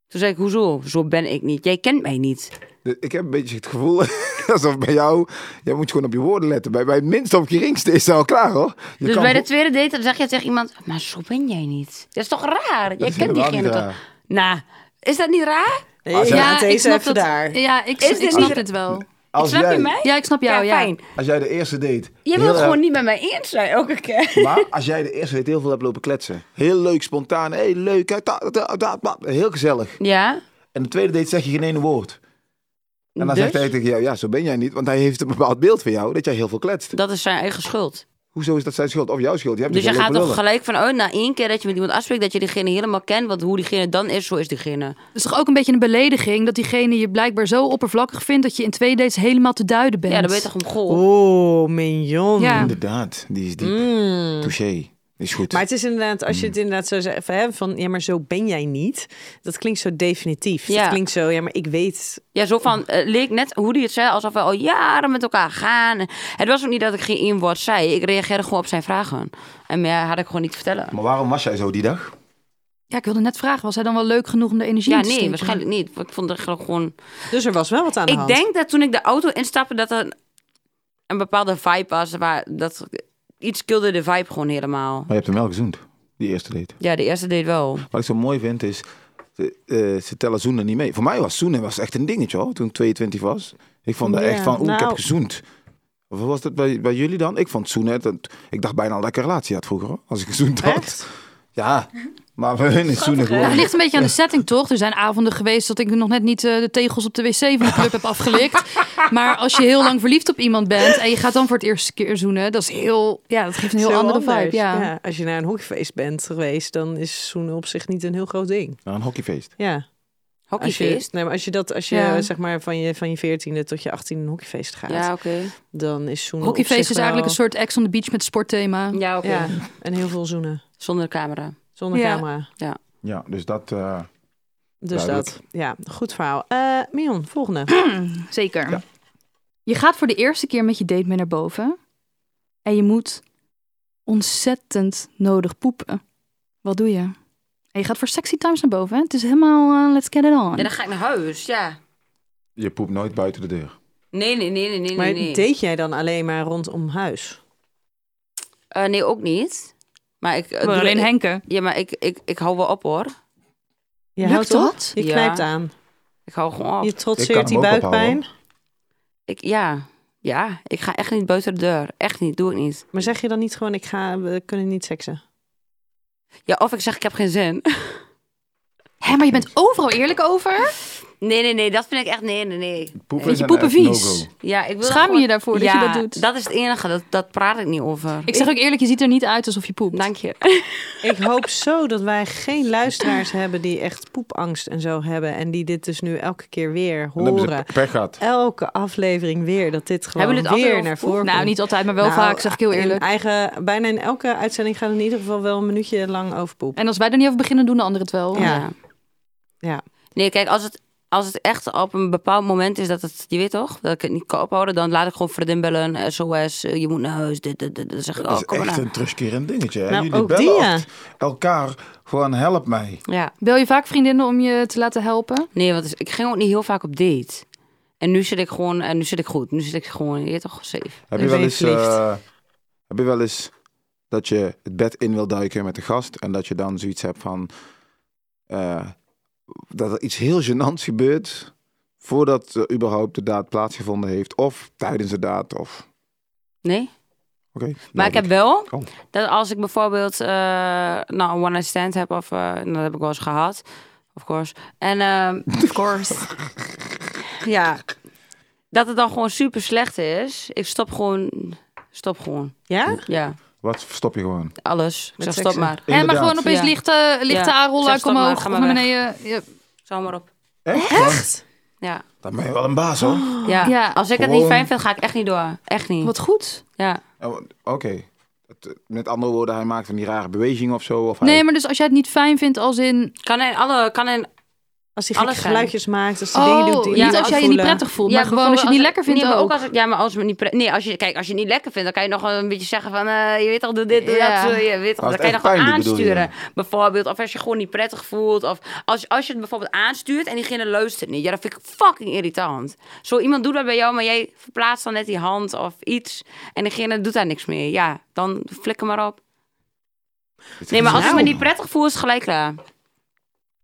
Toen zei ik, hoezo? Zo ben ik niet. Jij kent mij niet. Ik heb een beetje het gevoel alsof bij jou... Jij moet gewoon op je woorden letten. Bij, bij het minste of geringste is het al klaar, hoor. Je dus kan bij de vo- tweede date dan zeg je tegen iemand... Maar zo ben jij niet. Dat is toch raar? Jij is kent helemaal diegene niet toch? Nou, raar. is dat niet raar? Nee, Ja, ja, ik deze snap even dat- daar. Ja, ik, Is dit ik snap niet- dit wel. Als Snap jij, je mij? Ja, ik snap jou, ja. fijn. Als jij de eerste date... Je heel wilt erg- gewoon niet met mij eens zijn elke keer. Maar als jij de eerste date heel veel hebt lopen kletsen. Heel leuk, spontaan. Hé, hey, leuk. hè, ta- ta- ta- ta- Heel gezellig. Ja? En de tweede date zeg je geen ene woord. En dan Dus? zegt hij tegen jou, ja, zo ben jij niet. Want hij heeft een bepaald beeld van jou dat jij heel veel kletst. Dat is zijn eigen schuld. Hoezo is dat zijn schuld of jouw schuld? Je hebt Dus je niet gaat gelopen toch lullen. gelijk van, oh, na één keer dat je met iemand afspreekt, dat je diegene helemaal kent, want hoe diegene dan is, zo is diegene. Het is toch ook een beetje een belediging dat diegene je blijkbaar zo oppervlakkig vindt dat je in twee dates helemaal te duiden bent. Ja, dan ben je toch om goal. Oh, mignon. Ja. Inderdaad, die is diep. Mm. Touché. Is goed. Maar het is inderdaad, als je het inderdaad zo zegt, van, hè, van ja, maar zo ben jij niet. Dat klinkt zo definitief. Ja. Dat klinkt zo, ja, maar ik weet. Ja, zo van, eh, leek net hoe die het zei, alsof we al jaren met elkaar gaan. Het was ook niet dat ik geen één woord zei. Ik reageerde gewoon op zijn vragen. En meer had ik gewoon niet te vertellen. Maar waarom was jij zo die dag? Ja, ik wilde net vragen, was hij dan wel leuk genoeg om de energie Ja, in te nee, steken? waarschijnlijk niet. Ik vond het gewoon... Dus er was wel wat aan de Ik hand. denk dat toen ik de auto instapte, dat er een bepaalde vibe was. Waar dat, iets kilde de vibe gewoon helemaal. Maar je hebt hem wel gezoend, die eerste date. Ja, de eerste deed wel. Wat ik zo mooi vind is, ze, eh, ze tellen zoenen niet mee. Voor mij was zoenen was echt een dingetje hoor, toen ik 22 was. Ik vond dat Ja, echt van, oeh, ik nou. heb gezoend. Of was dat bij, bij jullie dan? Ik vond zoenen, dat, ik dacht bijna al dat ik een relatie had vroeger hoor, als ik gezoend had. Echt? Ja, maar bij hun is zoenen Ja, het gewoon... ligt een beetje aan de setting, toch? Er zijn avonden geweest dat ik nog net niet eh, de tegels op de wc van de club heb afgelikt. Maar als je heel lang verliefd op iemand bent en je gaat dan voor het eerste keer zoenen, dat is heel, ja, dat geeft een heel Zo andere anders. vibe. Ja. Als je naar een hockeyfeest bent geweest, dan is zoenen op zich niet een heel groot ding. Nou, een hockeyfeest. Ja. Als je, Hockeyfeest. nee, maar als je dat, als je Ja. zeg maar van je van je veertiende tot je achttiende een hockeyfeest gaat, Ja, oké. dan is zoenen. op Hockeyfeest zich is eigenlijk wel- een soort ex on the beach met sportthema. Ja, oké. Ja. En heel veel zoenen Zonder camera. zonder Ja. camera. Ja, dus dat... eh, Dus Duidelijk. dat. Ja, goed verhaal. Eh Mion, volgende. Zeker. Ja. Je gaat voor de eerste keer met je date mee naar boven en je moet ontzettend nodig poepen. Wat doe je? En je gaat voor sexy times naar boven. hè? Het is helemaal eh, let's get it on. En dan ga ik naar huis, ja. je poept nooit buiten de deur. Nee, nee, nee, nee, nee, Maar nee. deed jij dan alleen maar rondom huis? Eh, nee, ook niet. Maar ik... eh, Maar doe- alleen ik- Henke. Ja, maar ik, ik, ik hou wel op, hoor. Je Lukt houdt op? dat? Je Ja. knijpt aan. Ik hou gewoon op. Je Ik kan trotseert die hem ook buikpijn. ophouden. Ik, ja. Ja, ik ga echt niet buiten de deur. Echt niet, doe ik niet. Maar zeg je dan niet gewoon, ik ga, we kunnen niet seksen? Ja, of ik zeg ik heb geen zin. Hé, maar je bent overal eerlijk over. Nee, nee, nee, dat vind ik echt nee, nee, nee. Poepen Vind is je een poepen echt vies? no-go. Ja, ik wil Schaam je gewoon- je daarvoor dat je Ja, dat doet? dat is het enige, dat, dat praat ik niet over. Ik zeg ook eerlijk, je ziet er niet uit alsof je poept. Dank je. Ik hoop zo dat wij geen luisteraars hebben die echt poepangst en zo hebben. En die dit dus nu elke keer weer Dan hebben ze horen. Oh, pe- pech gehad. Elke aflevering weer, dat dit gewoon Hebben jullie het weer altijd naar over poep? voren komt. Nou, niet altijd, maar wel Nou, vaak, zeg ik heel in eerlijk. eigen, bijna in elke uitzending gaat het in ieder geval wel een minuutje lang over poep. En als wij er niet over beginnen, doen de anderen het wel. Ja. Ja. Nee, kijk, als het, als het echt op een bepaald moment is dat het, je weet toch, dat ik het niet kan ophouden, dan laat ik gewoon vriendin bellen, SOS, eh, je moet naar huis, dit, dit, dit. Dan zeg ik, Dat oh, is kom maar echt naar. een terugkerend dingetje. hè. Nou, Jullie ook bellen die, ja. echt elkaar gewoon help mij. Ja. Bel je vaak vriendinnen om je te laten helpen? Nee, want ik ging ook niet heel vaak op date. En nu zit ik gewoon, en nu zit ik goed. Nu zit ik gewoon, je weet toch, safe. Heb je, Dan ben wel je eens, verliefd. eh, heb je wel eens dat je het bed in wil duiken met de gast en dat je dan zoiets hebt van eh, dat er iets heel gênants gebeurt voordat er überhaupt de daad plaatsgevonden heeft of tijdens de daad of Nee? oké. Maar ik heb duidelijk. wel Oh. dat als ik bijvoorbeeld eh, nou, een one night stand heb, of eh, dat heb ik wel eens gehad, of course. En ehm, Of course. ja, dat het dan gewoon super slecht is. Ik stop gewoon, stop gewoon. Ja? Ja, wat stop je gewoon? alles. Ik Met zeg seksen. stop maar. En maar Inderdaad. gewoon opeens Ja. lichte, lichte Ja. A-rol Zeg, uit stop maar, omhoog ga of naar maar weg. beneden. Ja. Zo maar op. Echt? Ja. Dan ben je wel een baas hoor. Ja. Ja. als ik het Gewoon- niet fijn vind, ga ik echt niet door. Echt niet. Wat goed. Ja. Oh, Oké. Het- Met andere woorden, hij maakt van die rare bewegingen of zo. Of hij- Nee, maar dus als jij het niet fijn vindt als in... Kan in alle, kan in, Als hij gekke Alles zijn. geluidjes maakt, als hij dingen doet Oh, die niet niet als jij je niet voelen. prettig voelt, maar gewoon als bijvoorbeeld je het niet lekker vindt nee, maar ook. als het, ja, maar als het me niet pre- Nee, als je, kijk, als je het niet lekker vindt, dan kan je nog wel een beetje zeggen van... eh, je weet toch, doe dit, doe Ja. dat. eh, Je weet toch, Als dan het kan je nog echt wel pijn doet, bedoel je? aansturen. Bijvoorbeeld, of als je gewoon niet prettig voelt. Of als, als je het bijvoorbeeld aanstuurt en diegene luistert niet. Ja, dat vind ik fucking irritant. Zo iemand doet dat bij jou, maar jij verplaatst dan net die hand of iets. En diegene doet daar niks mee. Ja, dan flikker maar op. Nee, maar als ik me Nou. niet prettig voel, is het gelijk klaar.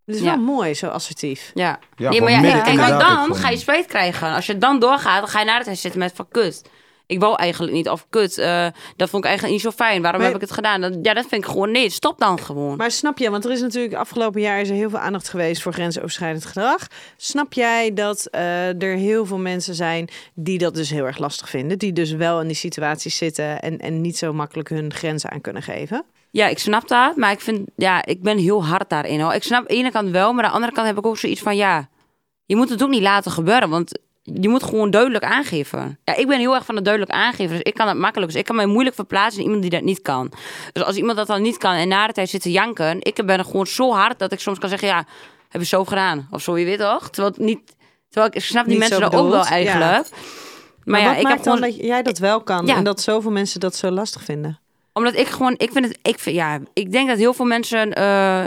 Het is Ja. wel mooi, zo assertief. Ja. Ja, nee, gewoon maar ja, midden kijk, in de want dag ook dan gewoon. ga je spijt krijgen. Als je dan doorgaat, dan ga je naar het huis zitten met van kut. Ik wou eigenlijk niet. Of kut, eh, dat vond ik eigenlijk niet zo fijn. Waarom Maar- heb ik het gedaan? Dat, ja, dat vind ik gewoon nee. Stop dan gewoon. Maar snap je, want er is natuurlijk afgelopen jaar is er heel veel aandacht geweest voor grensoverschrijdend gedrag. Snap jij dat eh, er heel veel mensen zijn die dat dus heel erg lastig vinden? Die dus wel in die situaties zitten en, en niet zo makkelijk hun grenzen aan kunnen geven? Ja, ik snap dat. Maar ik vind, ja, ik ben heel hard daarin. Hoor. Ik snap aan de ene kant wel, maar aan de andere kant heb ik ook zoiets van, ja, je moet het ook niet laten gebeuren. Want je moet gewoon duidelijk aangeven. Ja, ik ben heel erg van het duidelijk aangeven. Dus ik kan dat makkelijk. Dus ik kan mij moeilijk verplaatsen in iemand die dat niet kan. Dus als iemand dat dan niet kan en na de tijd zit te janken, ik ben gewoon zo hard dat ik soms kan zeggen, ja, heb je zo gedaan? Of zo, je weet toch? Terwijl, het niet, terwijl ik ik snap die Niet zo mensen dat ook wel bedoeld, ja. eigenlijk. Maar, ja, wat ik maakt heb gewoon... dan dat jij dat wel kan Ja. en dat zoveel mensen dat zo lastig vinden? Omdat ik gewoon, ik vind het, ik vind, ja, ik denk dat heel veel mensen eh,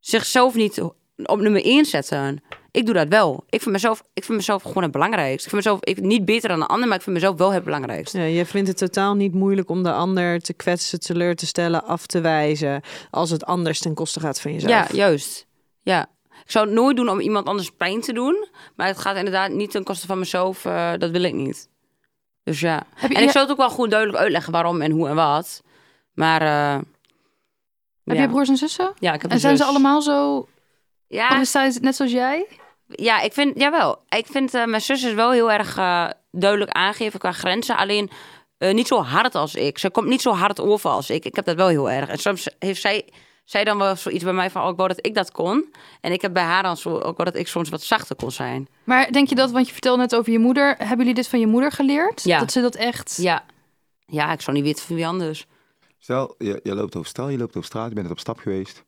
zichzelf niet op nummer 1 zetten. Ik doe dat wel. Ik vind mezelf, ik vind mezelf gewoon het belangrijkste. Ik vind mezelf ik, niet beter dan de ander, maar ik vind mezelf wel het belangrijkste. Ja, je vindt het totaal niet moeilijk om de ander te kwetsen, teleur te stellen, af te wijzen. Als het anders ten koste gaat van jezelf. Ja, juist. Ja. Ik zou het nooit doen om iemand anders pijn te doen, maar het gaat inderdaad niet ten koste van mezelf. eh, dat wil ik niet. Dus ja. Heb je, En ik zou het ook wel goed duidelijk uitleggen waarom en hoe en wat. Maar. eh, heb ja. jij broers en zussen? Ja, ik heb En een zijn ze zus. allemaal zo? Ja. Of zijn ze net zoals jij? Ja, ik vind, jawel. Ik vind eh, mijn zus is wel heel erg eh, duidelijk aangeven qua grenzen. Alleen eh, niet zo hard als ik. Ze komt niet zo hard over als ik. Ik heb dat wel heel erg. En soms heeft zij, zij dan wel zoiets bij mij van, oh, ik wou dat ik dat kon. En ik heb bij haar dan zo, ook wel dat ik soms wat zachter kon zijn. Maar denk je dat, want je vertelde net over je moeder. Hebben jullie dit van je moeder geleerd? Ja. Dat ze dat echt... Ja. Ja, ik zou niet weten van wie anders. Stel, je, je loopt over, stel, je loopt over straat, je bent net op stap geweest. Je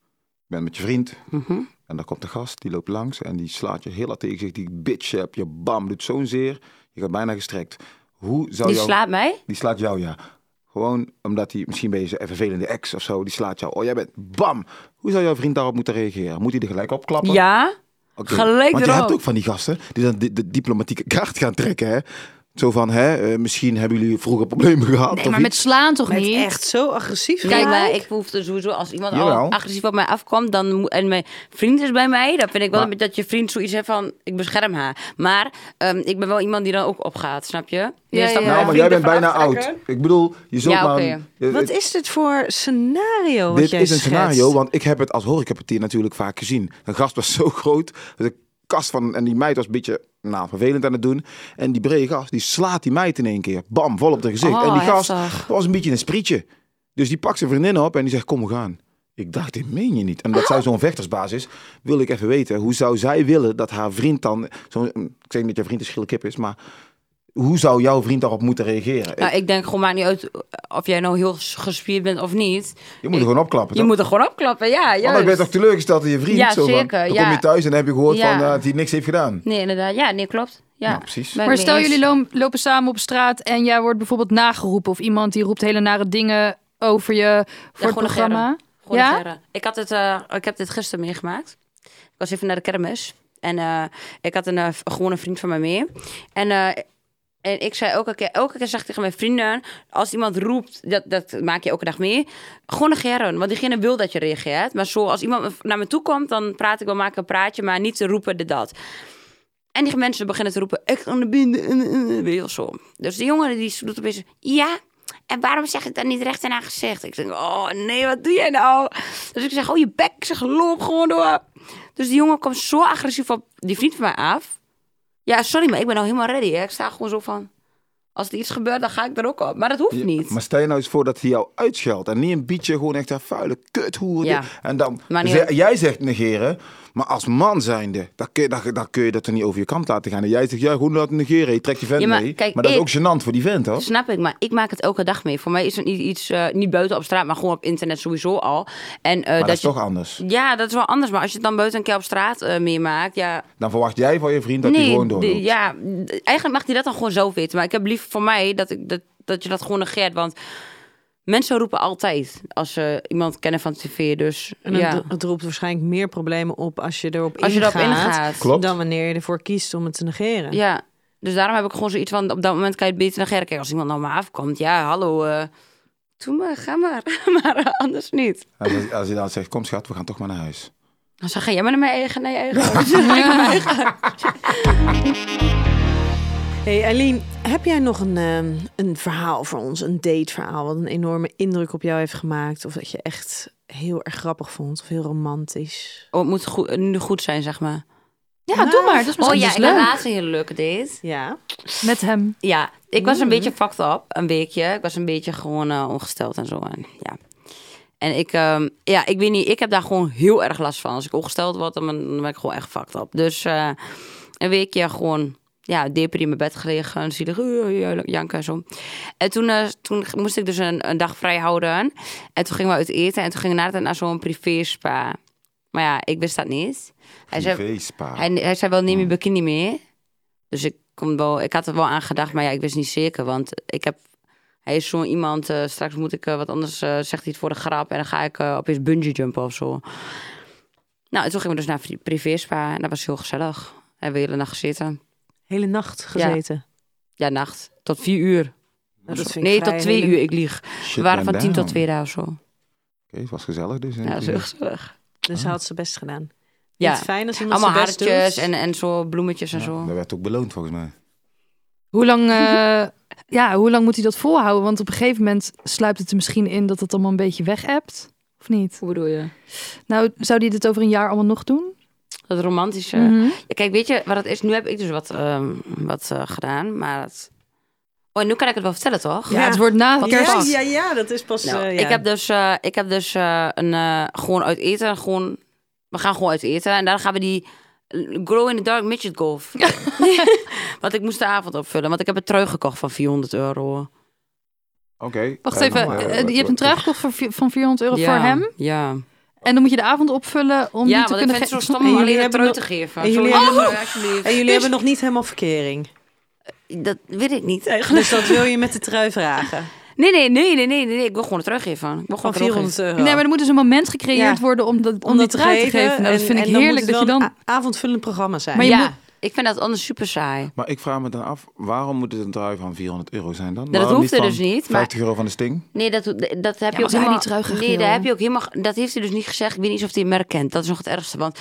bent met je vriend. Mhm. En dan komt de gast, die loopt langs en die slaat je heel hard tegen zich. Die bitch heb je, bam, doet zo'n zeer. Je gaat bijna gestrekt. Hoe zou Die jou- slaat mij? Die slaat jou, ja. Gewoon omdat hij, misschien ben je zijn vervelende ex of zo, die slaat jou. Oh, jij bent, bam. Hoe zou jouw vriend daarop moeten reageren? Moet hij er gelijk op klappen? Ja. Oké, Gelijk Want je erop. hebt ook van die gasten die dan de, de diplomatieke kaart gaan trekken, hè? Zo van, hè, eh, misschien hebben jullie vroeger problemen gehad. Nee, of maar met iets. slaan toch Met niet? echt zo agressief. Kijk, maar gelijk? ik hoef er sowieso, als iemand al Jawel. agressief op mij afkomt dan, moet- en mijn vriend is bij mij, dan vind ik wel Maar- een beetje dat je vriend zoiets heeft van, ik bescherm haar. Maar ehm, ik ben wel iemand die dan ook opgaat, snap je? Ja, Dus dan ja. mijn nou, maar vriend jij bent ervan bijna aftrekken. oud. Ik bedoel, je zult Ja, maar... oké. een- eh, Wat is dit voor scenario? Wat Dit jij is een schetst? scenario, want ik heb het als horecapartier natuurlijk vaak gezien. Een gast was zo groot, de kast van... En die meid was een beetje nou, vervelend aan het doen. En die brede gast, die slaat die meid in één keer. Bam, vol op de gezicht. Oh, en die gast heftig. was een beetje een sprietje. Dus die pakt zijn vriendin op en die zegt, kom we gaan. Ik dacht, dit meen je niet. En omdat zij zo'n vechtersbaas is, wil ik even weten... hoe zou zij willen dat haar vriend dan... Zo, ik zeg niet dat je vriend een schille kip is, maar... hoe zou jouw vriend daarop moeten reageren? Nou, ik denk gewoon maakt niet uit of jij nou heel gespierd bent of niet. je moet er gewoon opklappen. Je toch? moet er gewoon opklappen, ja, Want dan Oh, ben je juist. toch teleurgesteld in je vriend? Ja, zo van, zeker, Dan ja. kom je thuis en dan heb je gehoord Ja. van, eh, dat hij niks heeft gedaan. Nee, inderdaad. Ja, nee, klopt. Ja, Nou, precies. Ben ik Maar mee stel eens. jullie lo- lopen samen op straat en jij wordt bijvoorbeeld nageroepen of iemand die roept hele nare dingen over je voor het gewoon programma. Gewoon Ja? negeren. Ik, had het, eh, ik heb dit gisteren meegemaakt. Ik was even naar de kermis. En eh, ik had een, eh, v- gewoon een vriend van mij mee. En, eh, en ik zei elke keer, elke keer zeg ik tegen mijn vrienden... als iemand roept, dat, dat maak je elke dag mee... gewoon negeren, want diegene wil dat je reageert. Maar zo, als iemand naar me toe komt, dan praat ik wel, maak ik een praatje... maar niet te roepen, dit, dat. En die mensen beginnen te roepen, ik kan de binden, eh, eh, weet je wel zo. Dus die jongen die doet opeens, ja, en waarom zeg ik dat niet recht in haar gezicht? Ik denk, oh nee, wat doe jij nou? Dus ik zeg, oh je bek, ik zeg, loop gewoon door. Dus die jongen komt zo agressief op die vriend van mij af. Ja, sorry, maar ik ben nou helemaal ready. Hè? Ik sta gewoon zo van, als er iets gebeurt, dan ga ik er ook op. Maar dat hoeft niet. Maar stel je nou eens voor dat hij jou uitscheldt. En niet een bietje, gewoon echt een vuile kuthoer. Ja. En dan, Maar niet- ze- jij zegt negeren. Maar als man zijnde, dan kun, je, dan, dan kun je dat er niet over je kant laten gaan. En jij zegt, ja, gewoon laten negeren. Je trekt die vent Ja, maar mee. kijk, maar dat ik- is ook gênant voor die vent, hoor. Snap ik, maar ik maak het elke dag mee. Voor mij is het niet iets, eh, niet buiten op straat, maar gewoon op internet sowieso al. En, eh, Maar dat, is je- toch anders. Ja, dat is wel anders. Maar als je het dan buiten een keer op straat eh, meemaakt, ja, Dan verwacht jij van je vriend dat hij gewoon doorloopt. de- ja, d- eigenlijk mag hij dat dan gewoon zelf weten. Maar ik heb liever voor mij dat, ik, dat, dat je dat gewoon negeert. Want mensen roepen altijd als ze iemand kennen van tv. Dus En het, ja, het roept waarschijnlijk meer problemen op als je erop als je ingaat, erop ingaat. Klopt. dan wanneer je ervoor kiest om het te negeren. Ja, dus daarom heb ik gewoon zoiets van... op dat moment kan je het beter negeren. Kijk, als iemand naar me afkomt, ja, hallo... eh doe maar, ga maar. maar eh, anders niet. En als, als hij dan zegt, kom schat, we gaan toch maar naar huis. Dan zeg je, jij maar naar mijn eigen, naar je eigen. huis. Hey Eileen, heb jij nog een, ehm, een verhaal voor ons? Een dateverhaal wat een enorme indruk op jou heeft gemaakt? Of dat je echt heel erg grappig vond of heel romantisch? Oh, het moet goed, nu goed zijn, zeg maar. Ja, doe maar. Dat is Oh misschien ja, dus ik had leuk. laatst een hele leuke date. Ja. Met hem. Ja, ik was een beetje fucked up, een weekje. Ik was een beetje gewoon eh, ongesteld en zo. En, ja. en ik, ehm, ja, ik weet niet, ik heb daar gewoon heel erg last van. Als ik ongesteld word, dan ben dan ben ik gewoon echt fucked up. Dus eh, een weekje gewoon, ja, depper in mijn bed gelegen. Zielig, uh, uh, janken en zo. En toen, eh, toen moest ik dus een, een dag vrij houden. En toen gingen we uit eten. En toen gingen we naar, naar zo'n privé spa. Maar ja, ik wist dat niet. Hij zei, Privé-spa. hij, hij zei wel, neem je bikini mee. Dus ik, kom wel, ik had er wel aan gedacht, maar ja, ik wist niet zeker. Want ik heb, hij is zo'n iemand, eh, straks moet ik eh, wat anders, eh, zegt hij het voor de grap. En dan ga ik eh, opeens bungee jumpen of zo. Nou, en toen gingen we dus naar pri- privé spa en dat was heel gezellig. Hebben we de hele nacht gezeten. Hele nacht gezeten. Ja, nacht. Tot vier uur. Nou, dat vind ik Nee, vrij tot twee hele- uur, ik lieg. Shit We waren van went tien tot down. twee daar of zo. Oké, het was gezellig dus. Ja, dat is heel gezellig. Dus ze had ze best gedaan. Ja. Niet fijn als iemand Allemaal zijn best hartjes doet. en, en zo, bloemetjes en zo. Dat werd ook beloond volgens mij. Hoe lang, eh, ja, hoe lang moet hij dat volhouden? Want op een gegeven moment sluipt het er misschien in dat het allemaal een beetje weg hebt. Of niet? Hoe bedoel je? Nou, zou die dit over een jaar allemaal nog doen? Dat romantische. Mhm. Ja, Kijk, weet je wat het is? Nu heb ik dus wat, ehm, wat eh, gedaan, maar het... Oh, en nu kan ik het wel vertellen, toch? Ja, het wordt na Wat kerst. Ja, Pas. ja, ja, dat is pas... Nou, eh, ja. Ik heb dus, eh, ik heb dus eh, een, eh, gewoon uit eten, gewoon... We gaan gewoon uit eten en daar gaan we die Grow in the Dark Midget Golf. want ik moest de avond opvullen, want ik heb een trui gekocht van 400 euro. Oké. Wacht eh, even, nou, eh, eh, je hebt een trui gekocht voor vi- van 400 euro Ja, voor hem. Ja, En dan moet je de avond opvullen om ja niet te want ik kunnen... vind het zo ge- stom En om jullie alleen een hebben trui te nog- geven. en jullie Sorry, hebben- maar alsjeblieft. En jullie hebben nog niet helemaal verkering. Dat weet ik niet eigenlijk. Dus dat wil je met de trui vragen. Nee, nee, nee, nee, nee, nee. Ik wil gewoon een trui geven. Ik wil gewoon Van een trui geven. 400 euro. Nee, maar er moet dus een moment gecreëerd Ja. worden om, dat, om, die dat trui te geven. Nou, dat en- vind en ik dan heerlijk moet dus dat het je wel dan... een a- avondvullend programma zijn. Maar je ja, moet- ik vind dat anders super saai. Maar ik vraag me dan af, waarom moet het een trui van 400 euro zijn dan? dat Waarom hoeft er van dus niet, maar- 50 euro van de sting? Nee, dat, dat heb maar je ook zou hij helemaal... die trui gaan nee, daar grillen? heb je ook helemaal... Dat heeft hij dus niet gezegd. Ik weet niet of hij hem herkent. Dat is nog het ergste, want...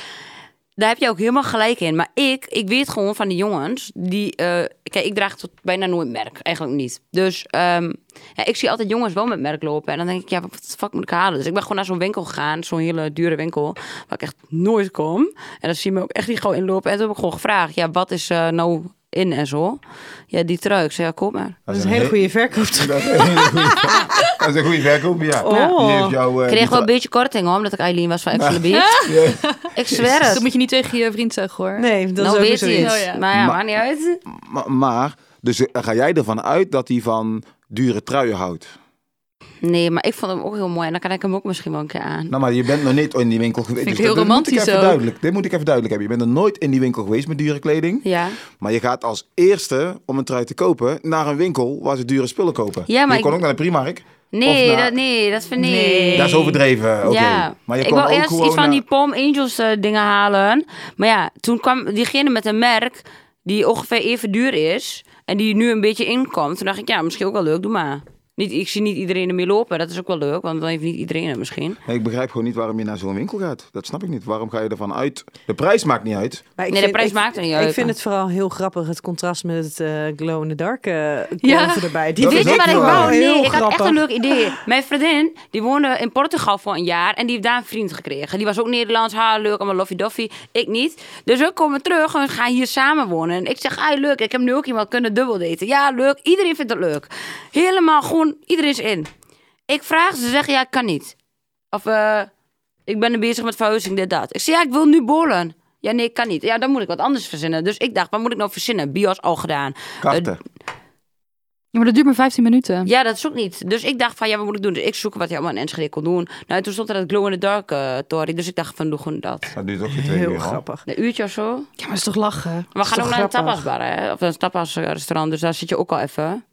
Daar heb je ook helemaal gelijk in. Maar ik, ik weet gewoon van die jongens die... eh, kijk, ik draag tot bijna nooit merk. Eigenlijk niet. Dus ehm, ja, ik zie altijd jongens wel met merk lopen. En dan denk ik, ja, wat de fuck moet ik halen? Dus ik ben gewoon naar zo'n winkel gegaan. Zo'n hele dure winkel. Waar ik echt nooit kom. En dan zie je me ook echt niet gewoon inlopen. En toen heb ik gewoon gevraagd. Ja, wat is eh, nou in en zo? Ja, die trui. Ik zei, ja, kom maar. dat is een hele goede verkoop. Dat is een hele goede- dat is een goede verkoop, ja. Oh. Die heeft jou, eh, Ik kreeg die wel tra- een beetje korting hoor, omdat ik Eileen was van Ex on the Beach. Ik zweer Dat het. moet je niet tegen je vriend zeggen, hoor. Nee, dat nou is ook weet weer hij het. zoiets. Oh, ja. Maar ja, Maar- maakt niet uit. Ma- maar, dus eh, ga jij ervan uit dat hij van dure truien houdt? Nee, maar ik vond hem ook heel mooi. En dan kan ik hem ook misschien wel een keer aan. Nou, maar je bent nog niet in die winkel geweest. Vind ik Dus heel dat- dat romantisch moet ik even ook. duidelijk- Dit moet ik even duidelijk hebben. Je bent nog nooit in die winkel geweest met dure kleding. Ja. Maar je gaat als eerste om een trui te kopen naar een winkel waar ze dure spullen kopen. Ja, maar je ik- kon ook naar de Primark. Nee, Of na- dat, nee, dat vind ik... Nee. nou- Dat is overdreven. Oké. Ja, Maar je ik kon wou ook eerst gewoon iets van naar- die Palm Angels eh, dingen halen. Maar ja, toen kwam diegene met een merk die ongeveer even duur is. En die nu een beetje inkomt. Toen dacht ik, ja, misschien ook wel leuk, doe maar. Niet, ik zie niet iedereen ermee lopen. Dat is ook wel leuk, want dan heeft niet iedereen het misschien. Nee, ik begrijp gewoon niet waarom je naar zo'n winkel gaat. Dat snap ik niet. Waarom ga je ervan uit? De prijs maakt niet uit. Maar ik Nee, de prijs maakt er niet uit. Ik vind het vooral heel grappig, het contrast met het eh, glow in the dark eh Ja. golven erbij. Die Dat Weet vind is je ook wat ik wel wou? Nee, heel ik had echt grappig. een leuk idee. Mijn vriendin, die woonde in Portugal voor een jaar en die heeft daar een vriend gekregen. Die was ook Nederlands, ha, leuk, allemaal loffy-doffy. Ik niet. Dus we komen terug en we gaan hier samen wonen. En ik zeg, ah, leuk, ik heb nu ook iemand kunnen dubbeldaten. Ja, leuk, iedereen vindt het leuk. Helemaal gewoon, iedereen is in. Ik vraag, ze zeggen, ja, ik kan niet. Of, eh, ik ben er bezig met verhuizing, dit, dat. Ik zeg, ja, ik wil nu bollen. Ja, nee, kan niet. Ja, dan moet ik wat anders verzinnen. Dus ik dacht, wat moet ik nou verzinnen? Bios al gedaan. Karten. Eh, Ja, maar dat duurt maar 15 minuten. Ja, dat is ook niet. Dus ik dacht van, ja, wat moet ik doen? Dus ik zoek wat hij allemaal in Enschede kon doen. Nou, en toen stond er dat glow in the dark eh tory. Dus ik dacht van, doe gewoon dat. dat duurt ook geen twee Heel uur. hoor. grappig. Een uurtje of zo. Ja, maar is toch lachen? We gaan ook naar een grappig? tapasbar, hè? Of een tapasrestaurant. Dus daar zit je ook al even.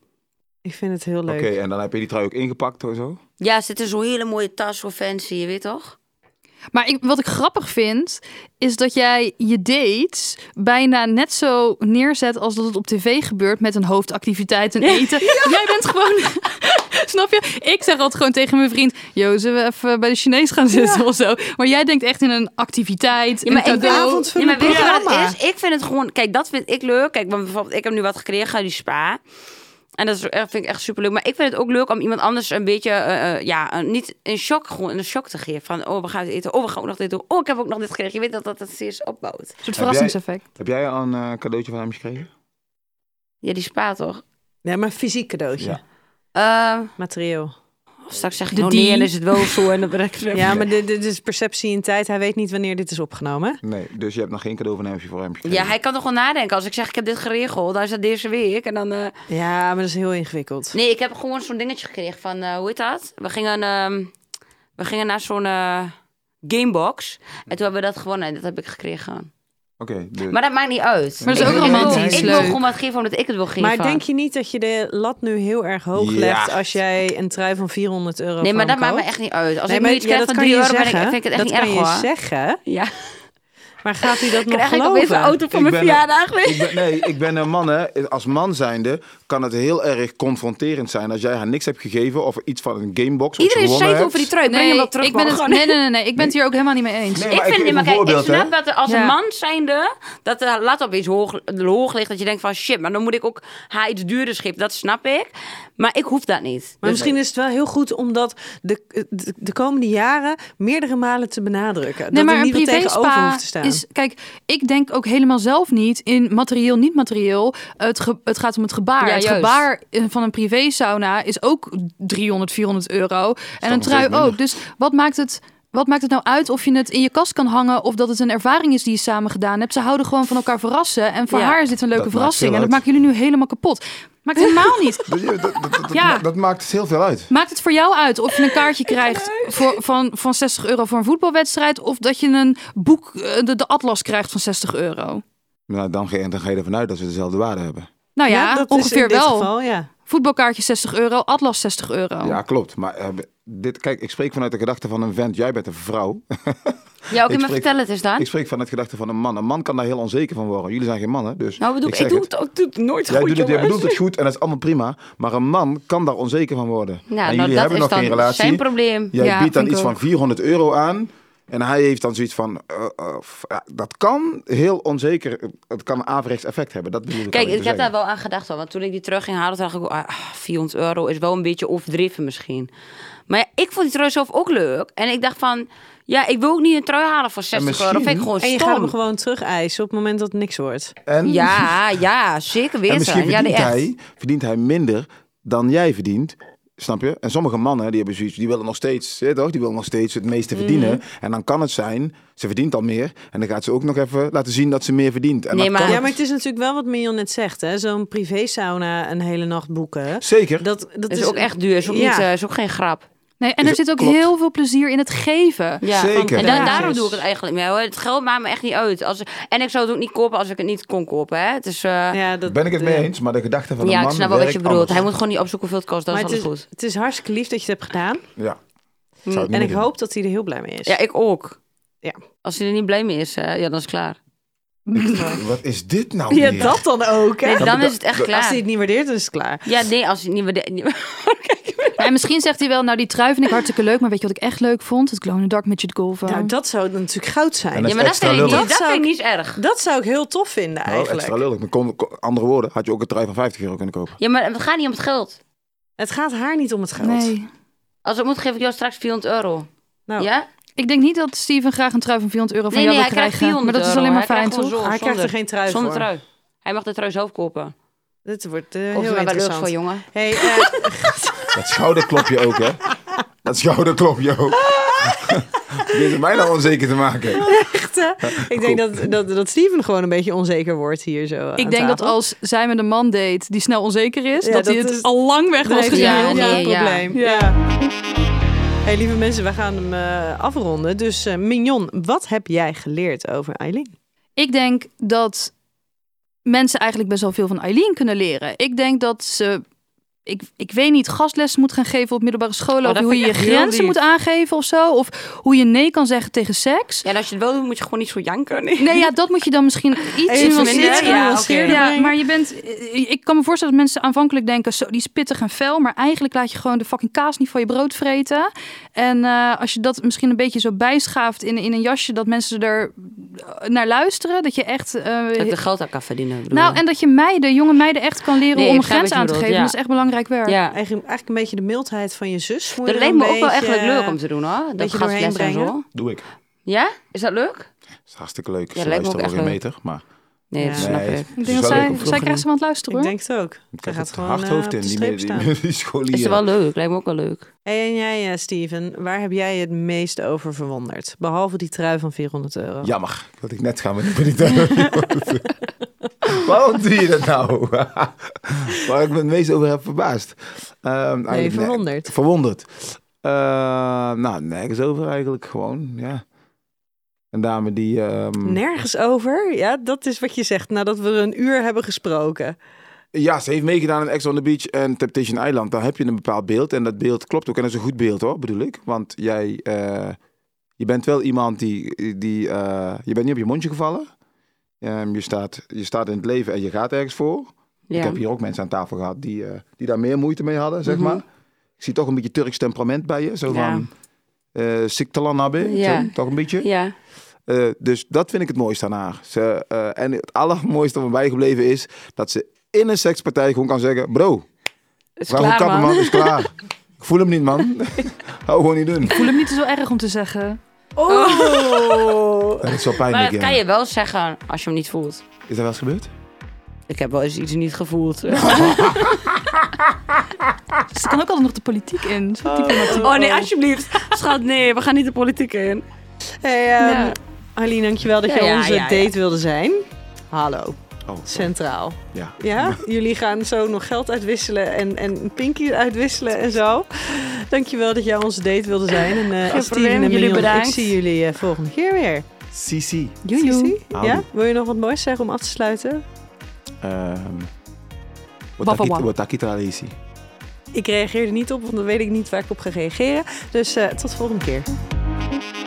Ik vind het heel Oké, leuk. en dan heb je die trui ook ingepakt of zo? Ja, er zit in zo'n hele mooie tas, zo fancy, je weet toch? Maar ik, wat ik grappig vind, is dat jij je dates bijna net zo neerzet als dat het op tv gebeurt met een hoofdactiviteit en eten. Jij bent gewoon Snap je? Ik zeg altijd gewoon tegen mijn vriend... Jo, zullen we even bij de Chinees gaan zitten of zo? Maar jij denkt echt in een activiteit, Ja, maar een ik vind- cadeau. Ja, maar weet je wat programma. het is? Ik vind het gewoon... Kijk, dat vind ik leuk. Kijk, want bijvoorbeeld, ik heb nu wat gekregen, die spa. En dat is, echt- vind ik echt superleuk. Maar ik vind het ook leuk om iemand anders een beetje... eh, eh, ja, een- niet in shock, gewoon een shock te geven. Van, oh, we gaan het eten. Oh, we gaan ook nog dit doen. Oh, ik heb ook nog dit gekregen. Je weet dat dat het steeds opbouwt. Een soort Heb jij- verrassingseffect. Heb jij al een eh, cadeautje van hem gekregen? Ja, die spa toch? Ja, maar een fysiek cadeautje. Ja. Eh, Materieel. straks zeg je De nou nee die. en is het wel zo. En dan ben ik Ja, maar dit, dit is perceptie in tijd. Hij weet niet wanneer dit is opgenomen. hè? Nee, dus je hebt nog geen cadeau van hem voor hem gekregen. Ja, hij kan toch wel nadenken. Als ik zeg, ik heb dit geregeld, dan is dat deze week. En dan... eh, Ja, maar dat is heel ingewikkeld. Nee, ik heb gewoon zo'n dingetje gekregen van, eh, hoe heet dat? We gingen, ehm, we gingen naar zo'n eh, gamebox. En toen hebben we dat gewonnen en dat heb ik gekregen. Oké, dus- Maar dat maakt niet uit. Maar dat is Ik- ook ik wil- romantisch, Ik wil leuk. gewoon wat geven omdat ik het wil geven. Maar denk je niet dat je de lat nu heel erg hoog Ja. legt als jij een trui van 400 euro Nee, maar voor dat hem maakt me koopt? echt niet uit. Als Nee, ik maar nu iets ja, krijg dat van kan 3 je dus euro, ben ik, zeggen. vind ik het echt dat niet erg kan je dus hoor. zeggen, Ja, maar gaat hij dat nog krijg ik opeens geloven? een auto voor Ik mijn ben- verjaardag. Ik ben, nee, ik ben een man, hè. Als man zijnde kan het heel erg confronterend zijn als jij haar niks hebt gegeven of iets van een gamebox. wat je Iedereen gewonnen zeikt hebt. over die trui. Breng Nee, hem wel terug. ik ben man. het, Gewoon- nee, nee, nee, nee, ik ben het hier ook helemaal niet mee eens. Nee, ik maar vind het geef niet, maar een kijk, ik voorbeeld, snap hè. dat er als Ja. een man zijnde, dat de lat opeens hoog, hoog ligt, dat je denkt van shit, maar dan moet ik ook haar iets duurder schip. Dat snap ik, maar ik hoef dat niet. Dus- Maar misschien is het wel heel goed om dat de, de, de komende jaren meerdere malen te benadrukken. dat er niet wat tegenover hoeft te staan. is... Kijk, ik denk ook helemaal zelf niet in materieel, niet materieel. Het, ge- het gaat om het gebaar. Ja, het juist. gebaar eh, van een privé sauna is ook 300, 400 euro. En een nog trui steeds minder. ook. Dus wat maakt het... Wat maakt het nou uit of je het in je kast kan hangen of dat het een ervaring is die je samen gedaan hebt? Ze houden gewoon van elkaar verrassen. En voor Ja. haar is dit een leuke maakt verrassing. veel En dat uit. maken jullie nu helemaal kapot. Maakt helemaal niet. Dat, Dus dat, dat, dat- Ja. dat maakt dus heel veel uit. Maakt het voor jou uit of je een kaartje krijgt voor, van, van 60 euro voor een voetbalwedstrijd... of dat je een boek, eh, de, de atlas krijgt van 60 euro? Nou, dan, ga- dan ga je ervan uit dat ze dezelfde waarde hebben. Nou oh ja, dat is ongeveer in dit wel. geval, ja. Voetbalkaartje 60 euro, atlas 60 Oh. euro. Ja, klopt. Maar eh, dit, kijk, ik spreek vanuit de gedachte van een vent. Jij bent een vrouw. Ja, oké, Ik maar spreek- vertel het eens dan. Ik spreek vanuit de gedachte van een man. Een man kan daar heel onzeker van worden. Jullie zijn geen mannen, dus nou, bedoel, ik, zeg doe het. het, ook- doe het nooit Jij goed, doet het, jij jongens. bedoelt het goed en dat is allemaal prima. Maar een man kan daar onzeker van worden. Ja, en nou, jullie dat hebben is nog dan geen relatie. zijn probleem. Jij Ja, biedt dan vind iets ik van 400 euro aan. En hij heeft dan zoiets van, eh, eh, f- ja, dat kan heel onzeker, het kan een averechts effect hebben. Dat bedoel ik Kijk, alleen ik te heb daar zeggen. wel aan gedacht, hoor, want toen ik die terug ging halen, dacht ik, ah, 400 euro is wel een beetje overdreven misschien. Maar ja, ik vond die trui zelf ook leuk. En ik dacht van, ja, ik wil ook niet een trui halen voor 60 euro. Dat vind ik misschien- gewoon En je stom. gaat hem gewoon terug eisen op het moment dat het niks wordt. En, Ja, ja, zeker en weten. misschien ja, verdient, nee, echt. hij, verdient hij minder dan jij verdient. Snap je? En sommige mannen die hebben zoiets, die willen nog steeds, hè, toch? Die willen nog steeds het meeste Mm. verdienen. En dan kan het zijn, ze verdient al meer. En dan gaat ze ook nog even laten zien dat ze meer verdient. En Nee, dan maar- kan Ja, het- maar het is natuurlijk wel wat Mion net zegt. hè. Zo'n privé sauna een hele nacht boeken. Zeker. Dat, dat Dat is ook echt duur. Is ook, Ja. niet, eh, is ook geen grap. Nee, en Is- er zit ook klopt. heel veel plezier in het geven. Ja. Zeker. En da- Ja. daarom doe ik het eigenlijk mee. Hoor. Het geld maakt me echt niet uit. Als, en ik zou het ook niet kopen als ik het niet kon kopen. Hè. Het is, eh, ja, Ja, dat, eh, Ben ik het mee ja. eens, maar de gedachte van de man ik snap wel wat werkt je bedoelt. anders. Hij moet gewoon niet opzoeken hoeveel het kost. Dat Maar is het alles is, goed. het is hartstikke lief dat je het hebt gedaan. Ja. Ik Mm. zou het Nou, niet En meer ik doen. hoop dat hij er heel blij mee is. Ja, ik ook. Ja. Als hij er niet blij mee is, eh, ja, dan is het klaar. Wat is dit nou Ja, weer? dat dan ook. Hè? Nee, dan is het echt Als klaar. hij het niet waardeert, dan is het klaar. Ja, nee, als hij niet meer... de- Ja, en misschien zegt hij wel, nou die trui vind ik hartstikke leuk... maar weet je wat ik echt leuk vond? Het Glow in the Dark Midget Golven. Nou, dat zou natuurlijk goud zijn. En dat Ja, maar dat extra vind ik niet, lullig. dat Dat zou vind ik ik- niet erg. Dat zou ik heel tof vinden Nou, eigenlijk. extra lullig. Maar kon- kon- andere woorden, had je ook een trui van 50 euro kunnen kopen. Ja, maar het gaat niet om het geld. Het gaat haar niet om het geld. nee. Als het moet, geef ik jou straks 400 euro. Nou, Ja? Ik denk niet dat Steven graag een trui van 400 euro van Nee, nee, jou hij wil krijgt krijgen. 400 Maar dat is euro. alleen maar Hij fijn, krijgt gewoon toch? zo, Hij krijgt er zonder- geen trui Zonder voor. trui. Hij mag de trui zelf kopen. Dit wordt eh, Of heel is wel leuk interessant. voor jongen. Hey, eh, Dat schouderklopje ook, hè? Dat schouderklopje ook. Dit is mij nou onzeker te maken. echt, eh, ik denk dat, dat, dat Steven gewoon een beetje onzeker wordt hier zo eh, aan Ik denk dat tafel. als zij met een man date die snel onzeker is, Ja, dat, dat hij het is- al lang weg Dan was heeft gezien. hij Ja, een heel nee, groot ja. probleem. Ja. Hey, lieve mensen, we gaan hem eh, afronden. Dus eh, Mignon, wat heb jij geleerd over Eileen? Ik denk dat mensen eigenlijk best wel veel van Eileen kunnen leren. Ik denk dat ze. ik, ik weet niet, gastles moet gaan geven op middelbare scholen. Oh, of dat hoe vind je ik je echt heel grenzen lief. moet aangeven of zo. Of hoe je nee kan zeggen tegen seks. Ja, en als je het wil, doen, moet je gewoon niet zo janken. Nee. Nee, ja, dat moet je dan misschien iets Even nuanceren. minder, Ja, ja, oké. nuanceren. ja, maar je bent. eh, Ik kan me voorstellen dat mensen aanvankelijk denken: zo, die is pittig en fel. Maar eigenlijk laat je gewoon de fucking kaas niet van je brood vreten. En eh, als je dat misschien een beetje zo bijschaaft in, in een jasje, dat mensen er eh, naar luisteren. Dat je echt. eh, Dat ik er geld aan kan verdienen. bedoel nou, je. en dat je meiden, jonge meiden, echt kan leren Nee, om een ik begrijp grens wat je aan te bedoelt, geven. ja. Dat is echt belangrijk werk. ja. Eigenlijk, eigenlijk een beetje de mildheid van je zus. moet je Dat er leek een me ook wel echt beetje, wel leuk om eh, te doen hoor. Dat beetje doorheen gastles en brengen. zo. Doe ik. Ja? Is dat leuk? is hartstikke leuk. Ja, Ze lijkt me luisteren wel ook geen echt meter, maar Nee, dat eh, Ja. snap Nee, ik. het Ik is denk wel dat leuk zij, om te zij doen. krijgt ze aan het luisteren Ik hoor. denk het ook. Ik Hij krijg gaat het gewoon hard eh, hoofd op in, de die, streep die, staan. die, die scholieren. Is het wel leuk? Lijkt me ook wel leuk. Hey, en jij, eh, Steven, waar heb jij je het meest over verwonderd? Behalve die trui van 400 euro. Jammer, dat ik net ga met die trui. Waarom doe je dat nou? Waar ik me het meest over heb verbaasd. Ehm, eigenlijk nee, ne- verwonderd. verwonderd. Eh, nou, nergens over eigenlijk gewoon, ja. Een dame die... ehm, Nergens over? Ja, dat is wat je zegt nadat we een uur hebben gesproken. Ja, ze heeft meegedaan in Ex on the Beach en Temptation Island. Dan heb je een bepaald beeld en dat beeld klopt ook. En dat is een goed beeld hoor, bedoel ik. Want jij eh, je bent wel iemand die... die eh, je bent niet op je mondje gevallen. Ehm, je, staat, je staat in het leven en je gaat ergens voor. Ik Ja. heb hier ook mensen aan tafel gehad die, eh, die daar meer moeite mee hadden, zeg Mhm. maar. Ik zie toch een beetje Turks temperament bij je. Zo Ja. van... eh Siktalan Abe, Ja. zo, toch een beetje? Ja. Eh, dus dat vind ik het mooiste aan haar. Ze, eh, en het allermooiste wat mij gebleven is dat ze in een sekspartij gewoon kan zeggen: Bro, Is we gaan gewoon klaar kappen, man, man. is klaar. Ik voel hem niet, man. Hou gewoon niet doen. Ik voel hem niet zo erg om te zeggen. Oh! Dat is wel Maar pijnlijk. dat ja. kan je wel zeggen als je hem niet voelt. Is dat wel eens gebeurd? Ik heb wel eens iets niet gevoeld. Dus er kan ook altijd nog de politiek in. Zo diplomatiek. Oh nee, alsjeblieft. Schat, nee, we gaan niet de politiek in. Hey, ehm Ja. Aline, dankjewel dat Ja, je ja, onze ja, ja. date wilde zijn. Hallo, Oh, centraal. ja. Ja, jullie gaan zo nog geld uitwisselen en, en Pinky uitwisselen en zo. Dankjewel dat jij onze date wilde zijn. En, eh en Steven probleem, en jullie Mion, bedankt. Ik zie jullie eh, volgende keer weer. CC. Joejoe. Hm. Sissi? Ja? Wil je nog wat moois zeggen om af te sluiten? Ehm, wat Wawa. taki- Wat takita leesi. Ik reageer er niet op, want dan weet ik niet waar ik op ga reageren. Dus eh, tot de volgende keer.